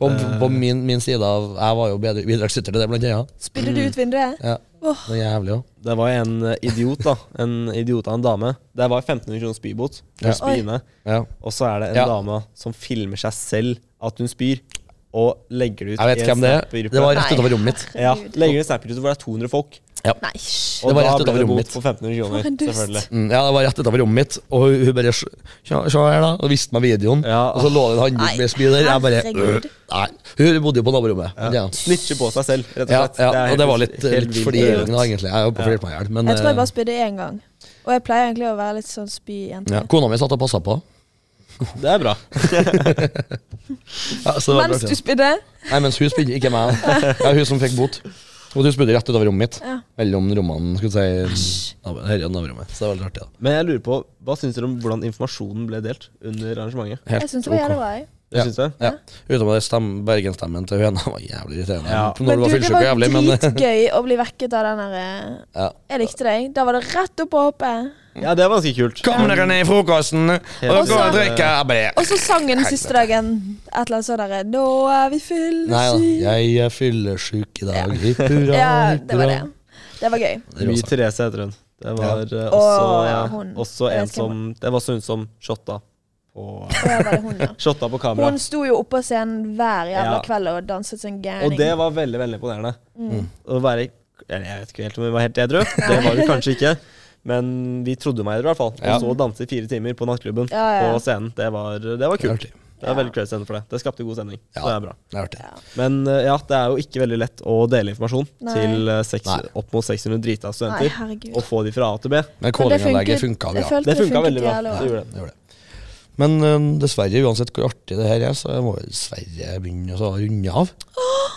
Speaker 1: På, på min, min side av Jeg var jo bedre bidragsyter til det, blant annet.
Speaker 4: Spydde du ut vinduet?
Speaker 1: Ja. Det er jævlig òg.
Speaker 3: Det var en eh, idiot, da. En idiot av en dame. Det var 1500 kroner spybot.
Speaker 1: Ja.
Speaker 3: Ja.
Speaker 4: Oi.
Speaker 1: Ja.
Speaker 3: Og så er det en
Speaker 1: Ja.
Speaker 3: dame som filmer seg selv at hun spyr, og legger det ut
Speaker 1: Jeg vet
Speaker 3: i en
Speaker 1: hvem det er.
Speaker 3: Snap-gruppe.
Speaker 1: Det var rett utover rommet mitt.
Speaker 3: ja,
Speaker 4: Herregud.
Speaker 3: legger det i en Snap-gruppe hvor det er 200 folk.
Speaker 4: Nei, hysj.
Speaker 3: Og
Speaker 1: Det var
Speaker 3: da
Speaker 1: rett
Speaker 3: ble
Speaker 1: utover
Speaker 3: det
Speaker 1: rommet
Speaker 3: bot
Speaker 1: mitt.
Speaker 3: på 1500 kroner.
Speaker 4: For en dust.
Speaker 3: Selvfølgelig.
Speaker 1: Mm, ja, det var rett utover rommet mitt, og hun, hun bare «Sjå- Sjå sjå her, da. Og viste meg videoen.
Speaker 3: Ja.
Speaker 1: Og så lå det en
Speaker 4: Nei,
Speaker 1: handduk med spy der. Jeg bare
Speaker 4: herregud.
Speaker 1: øh, Nei. Hun bodde jo på naborommet. Ja.
Speaker 3: Snitcher på seg selv, rett og
Speaker 1: Ja,
Speaker 3: slett.
Speaker 1: ja,
Speaker 3: er
Speaker 1: og det var litt,
Speaker 3: helt
Speaker 1: litt
Speaker 3: vilt.
Speaker 1: fordi egentlig. Jeg er jo på å flirte meg i hjel, men
Speaker 4: Jeg tror jeg
Speaker 1: eh,
Speaker 4: bare spydde én gang. Og jeg pleier egentlig å være litt sånn spyjente.
Speaker 1: øh, ja. kona mi satt og passa på.
Speaker 3: Det er bra.
Speaker 1: Ja, så det var
Speaker 4: Mens
Speaker 1: bra.
Speaker 4: du spydde?
Speaker 1: Nei, mens hun spydde, ikke meg. Ja, hun som fikk bot. Og du spydde rett utover rommet mitt.
Speaker 4: Ja.
Speaker 1: Mellom rommene, skulle jeg si. nabo- Her og naborommet. Så det var veldig artig, da.
Speaker 3: Men jeg lurer på, hva syns dere om hvordan informasjonen ble delt under arrangementet?
Speaker 1: Helt
Speaker 4: Jeg syns det var
Speaker 1: ok.
Speaker 4: jævlig bra. jeg.
Speaker 3: Det
Speaker 1: Ja.
Speaker 3: synes jeg.
Speaker 1: Ja. Utenom det stem, Bergensstemmen til høna var jævlig irriterende. Når
Speaker 3: Ja.
Speaker 1: du var
Speaker 4: det
Speaker 1: fyllesyk og
Speaker 4: var
Speaker 1: jævlig, men eh,
Speaker 4: dritgøy å bli vekket av den der eh,
Speaker 1: ja.
Speaker 4: Jeg likte deg. Da var det rett opp og hoppe.
Speaker 3: Ja, det var ganske kult.
Speaker 1: Kom dere ned i frokosten og
Speaker 3: Helt
Speaker 1: gå og
Speaker 4: sant.
Speaker 1: drikke! Jeg bare
Speaker 4: Og så sang den siste dagen et eller annet sånn derre Nå er vi
Speaker 1: Nei da,
Speaker 4: fyllesyke.
Speaker 1: jeg er fyllesyk i dag. Hipp hurra,
Speaker 4: Ja,
Speaker 1: hipp
Speaker 4: det var
Speaker 1: hurra.
Speaker 4: det. Det var gøy.
Speaker 1: Rå
Speaker 3: Eh, Mye
Speaker 1: sang.
Speaker 3: Therese heter hun. Det var eh,
Speaker 4: Å,
Speaker 3: også,
Speaker 4: ja, hun.
Speaker 3: også
Speaker 4: Jeg
Speaker 3: en
Speaker 4: vet hvem
Speaker 3: som Det var også hun som shotta på, eh,
Speaker 4: Og jeg var det hun, ja.
Speaker 3: shotta på kamera.
Speaker 4: Hun sto jo oppå scenen hver jævla
Speaker 3: Ja.
Speaker 4: kveld og danset som
Speaker 3: Og det
Speaker 4: gærning. var
Speaker 3: var veldig, veldig imponerende.
Speaker 4: Mm.
Speaker 1: Mm.
Speaker 3: Å være eller Jeg vet ikke helt om hun var helt edru. Det var hun kanskje ikke. Men vi trodde meg i det, i hvert fall.
Speaker 1: Ja.
Speaker 3: Og så danse i fire timer på nattklubben
Speaker 4: Ja, ja, ja.
Speaker 3: på scenen. Det var, det var
Speaker 1: Det er
Speaker 3: kult.
Speaker 1: artig.
Speaker 3: Det er veldig crazy for det. Det skapte god stemning.
Speaker 1: Ja.
Speaker 3: Så det er bra.
Speaker 1: Det er artig.
Speaker 3: Men eh, ja, det er jo ikke veldig lett å dele informasjon
Speaker 4: Nei.
Speaker 3: til eh, seks,
Speaker 1: Nei.
Speaker 3: opp mot 600 drita
Speaker 4: Nei,
Speaker 3: studenter.
Speaker 4: herregud.
Speaker 3: og få de fra A til B.
Speaker 1: Men
Speaker 4: Men det
Speaker 1: kålinganlegget
Speaker 4: funket-
Speaker 1: funka
Speaker 4: jeg
Speaker 1: bra.
Speaker 4: følte
Speaker 3: Det funka veldig bra.
Speaker 4: jævlig
Speaker 3: Det gjorde det.
Speaker 1: Det gjorde det. Men øhm, dessverre, uansett hvor artig det her er, så må vi dessverre begynne å runde av.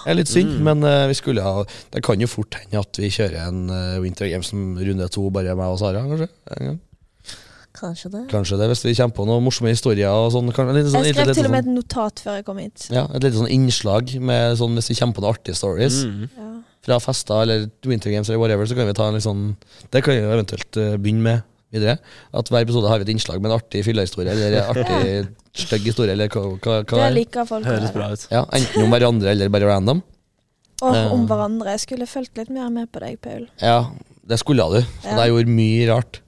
Speaker 1: Det er litt
Speaker 3: Mm.
Speaker 1: synd, men øh, vi skulle ha Det kan jo fort hende at vi kjører en øh, Winter Games som runde to, bare meg og Sara, kanskje? En gang.
Speaker 4: Kanskje det.
Speaker 1: Kanskje det, hvis vi kommer på noen morsomme historier og sånn. kan- litt sånn- litt-
Speaker 4: Jeg skrev
Speaker 1: litt
Speaker 4: til og
Speaker 1: sånn-
Speaker 4: med et notat før jeg kom hit.
Speaker 1: Ja, et lite sånn innslag med sånn hvis vi kommer på noen artige stories
Speaker 3: Mm.
Speaker 4: Ja.
Speaker 1: fra fester eller Winter Games eller whatever, så kan vi ta en litt sånn Det kan vi jo eventuelt eh, begynne med videre. At hver episode har vi et innslag med en artig fyllehistorie eller en artig stygg historie eller hva, hva, hva
Speaker 4: Det
Speaker 1: er det?
Speaker 4: liker folk. å
Speaker 3: Høres
Speaker 4: høre.
Speaker 3: bra ut.
Speaker 1: Ja, enten om hverandre eller bare random.
Speaker 4: Åh, om
Speaker 1: Eh.
Speaker 4: hverandre. Jeg skulle fulgt litt mer med på deg, Paul.
Speaker 1: Ja, det skulle du. For
Speaker 4: Ja.
Speaker 1: jeg gjorde mye rart.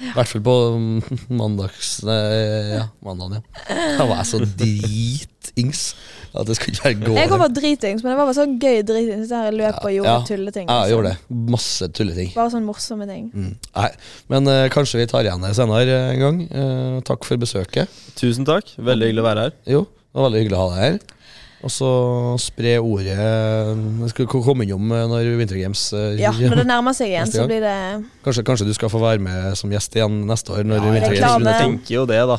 Speaker 1: I hvert fall på mm, mandags... Nei, ja, mandagen, ja. Da var jeg så dritings dritings. At det skulle ikke være gående.
Speaker 4: Jeg kom bare dritings, men det var bare sånn gøy dritings der jeg løp og gjorde
Speaker 1: Ja.
Speaker 4: tulleting.
Speaker 1: Ja, jeg
Speaker 4: liksom.
Speaker 1: gjorde det. Masse tulleting.
Speaker 4: Bare sånn morsomme ting.
Speaker 1: Mm. Nei, men eh, kanskje vi tar igjen det senere eh, en gang. Eh, takk for besøket.
Speaker 3: Tusen takk. Veldig hyggelig å være her.
Speaker 1: Jo, det var veldig hyggelig å ha deg her. Og så spre ordet Jeg skulle ko- komme innom eh, når Winter Games eh,
Speaker 4: Ja, Når det nærmer seg igjen,
Speaker 1: Neste
Speaker 4: så
Speaker 1: gang.
Speaker 4: blir det
Speaker 1: kanskje, kanskje du skal få være med som gjest igjen neste år. Når
Speaker 3: Ja,
Speaker 1: Winter
Speaker 4: reklame.
Speaker 1: Games
Speaker 3: Jeg tenker jo det, da.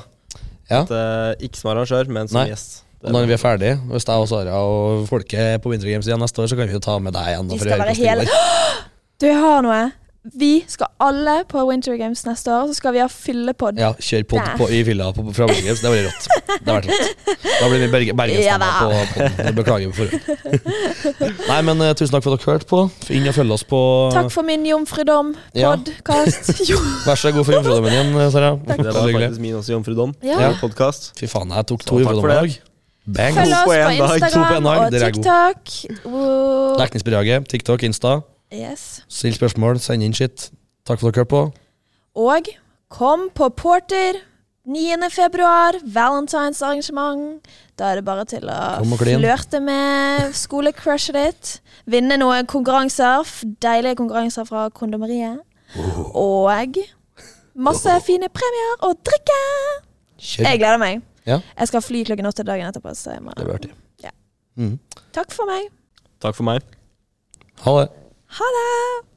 Speaker 1: Ja.
Speaker 3: At, eh, ikke som arrangør, men som
Speaker 1: Nei.
Speaker 3: gjest.
Speaker 1: Og når vi er ferdige, hvis jeg og Sara og folket er på Winter Games igjen neste år, så kan vi jo ta med deg igjen. da, for
Speaker 4: Vi
Speaker 1: å
Speaker 4: skal
Speaker 1: høre
Speaker 4: være
Speaker 1: hvordan det
Speaker 4: hele
Speaker 1: går.
Speaker 4: Du, jeg har noe. Vi skal alle på Winter Games neste år, så skal vi ha fyllepod.
Speaker 1: Ja, Kjør pod på, i fylla på, på fra Winter Games. Det blir rått. Det har vært rått. Da blir vi berge,
Speaker 4: Ja
Speaker 1: bergensstemme
Speaker 4: da.
Speaker 1: på podden. Beklager på forhånd. Nei, men eh, tusen takk for at dere hørte på. Inn og følg oss på
Speaker 4: Takk for min jomfrudom.
Speaker 1: Ja.
Speaker 4: Podkast. Jo.
Speaker 1: Vær så god for jomfrudommen din, Sara.
Speaker 3: Det var
Speaker 1: Veldig hyggelig.
Speaker 3: faktisk min også, Jomfru Dom.
Speaker 4: Ja.
Speaker 3: Podcast.
Speaker 1: Fy faen, jeg tok
Speaker 3: Så
Speaker 1: to
Speaker 3: takk
Speaker 1: jomfrudommer
Speaker 3: for
Speaker 1: i dag. Bang.
Speaker 4: Følg
Speaker 3: To
Speaker 4: oss
Speaker 3: på
Speaker 4: på
Speaker 3: en dag, to på en
Speaker 4: Instagram
Speaker 1: dag,
Speaker 4: og
Speaker 1: dere er
Speaker 4: TikTok. Wow.
Speaker 1: Dekningsbidraget. TikTok, Insta.
Speaker 4: Yes.
Speaker 1: Still spørsmål, send inn shit. Takk for at dere hørte på.
Speaker 4: Og kom på Porter 9. februar, Valentines arrangement. Da er det bare til å
Speaker 1: Kom og klin.
Speaker 4: flørte med skolecrushet ditt. Vinne noen konkurranser. f- Deilige konkurranser fra kondomeriet.
Speaker 1: Oh.
Speaker 4: Og masse fine premier og drikke!
Speaker 1: Kjør.
Speaker 4: Jeg gleder meg.
Speaker 1: Ja.
Speaker 4: Jeg skal fly klokken åtte dagen etterpå. Så jeg må.
Speaker 1: Det blir artig.
Speaker 4: Ja.
Speaker 1: Mm.
Speaker 4: Takk for meg.
Speaker 3: Takk for meg.
Speaker 1: Ha det.
Speaker 4: Ha det!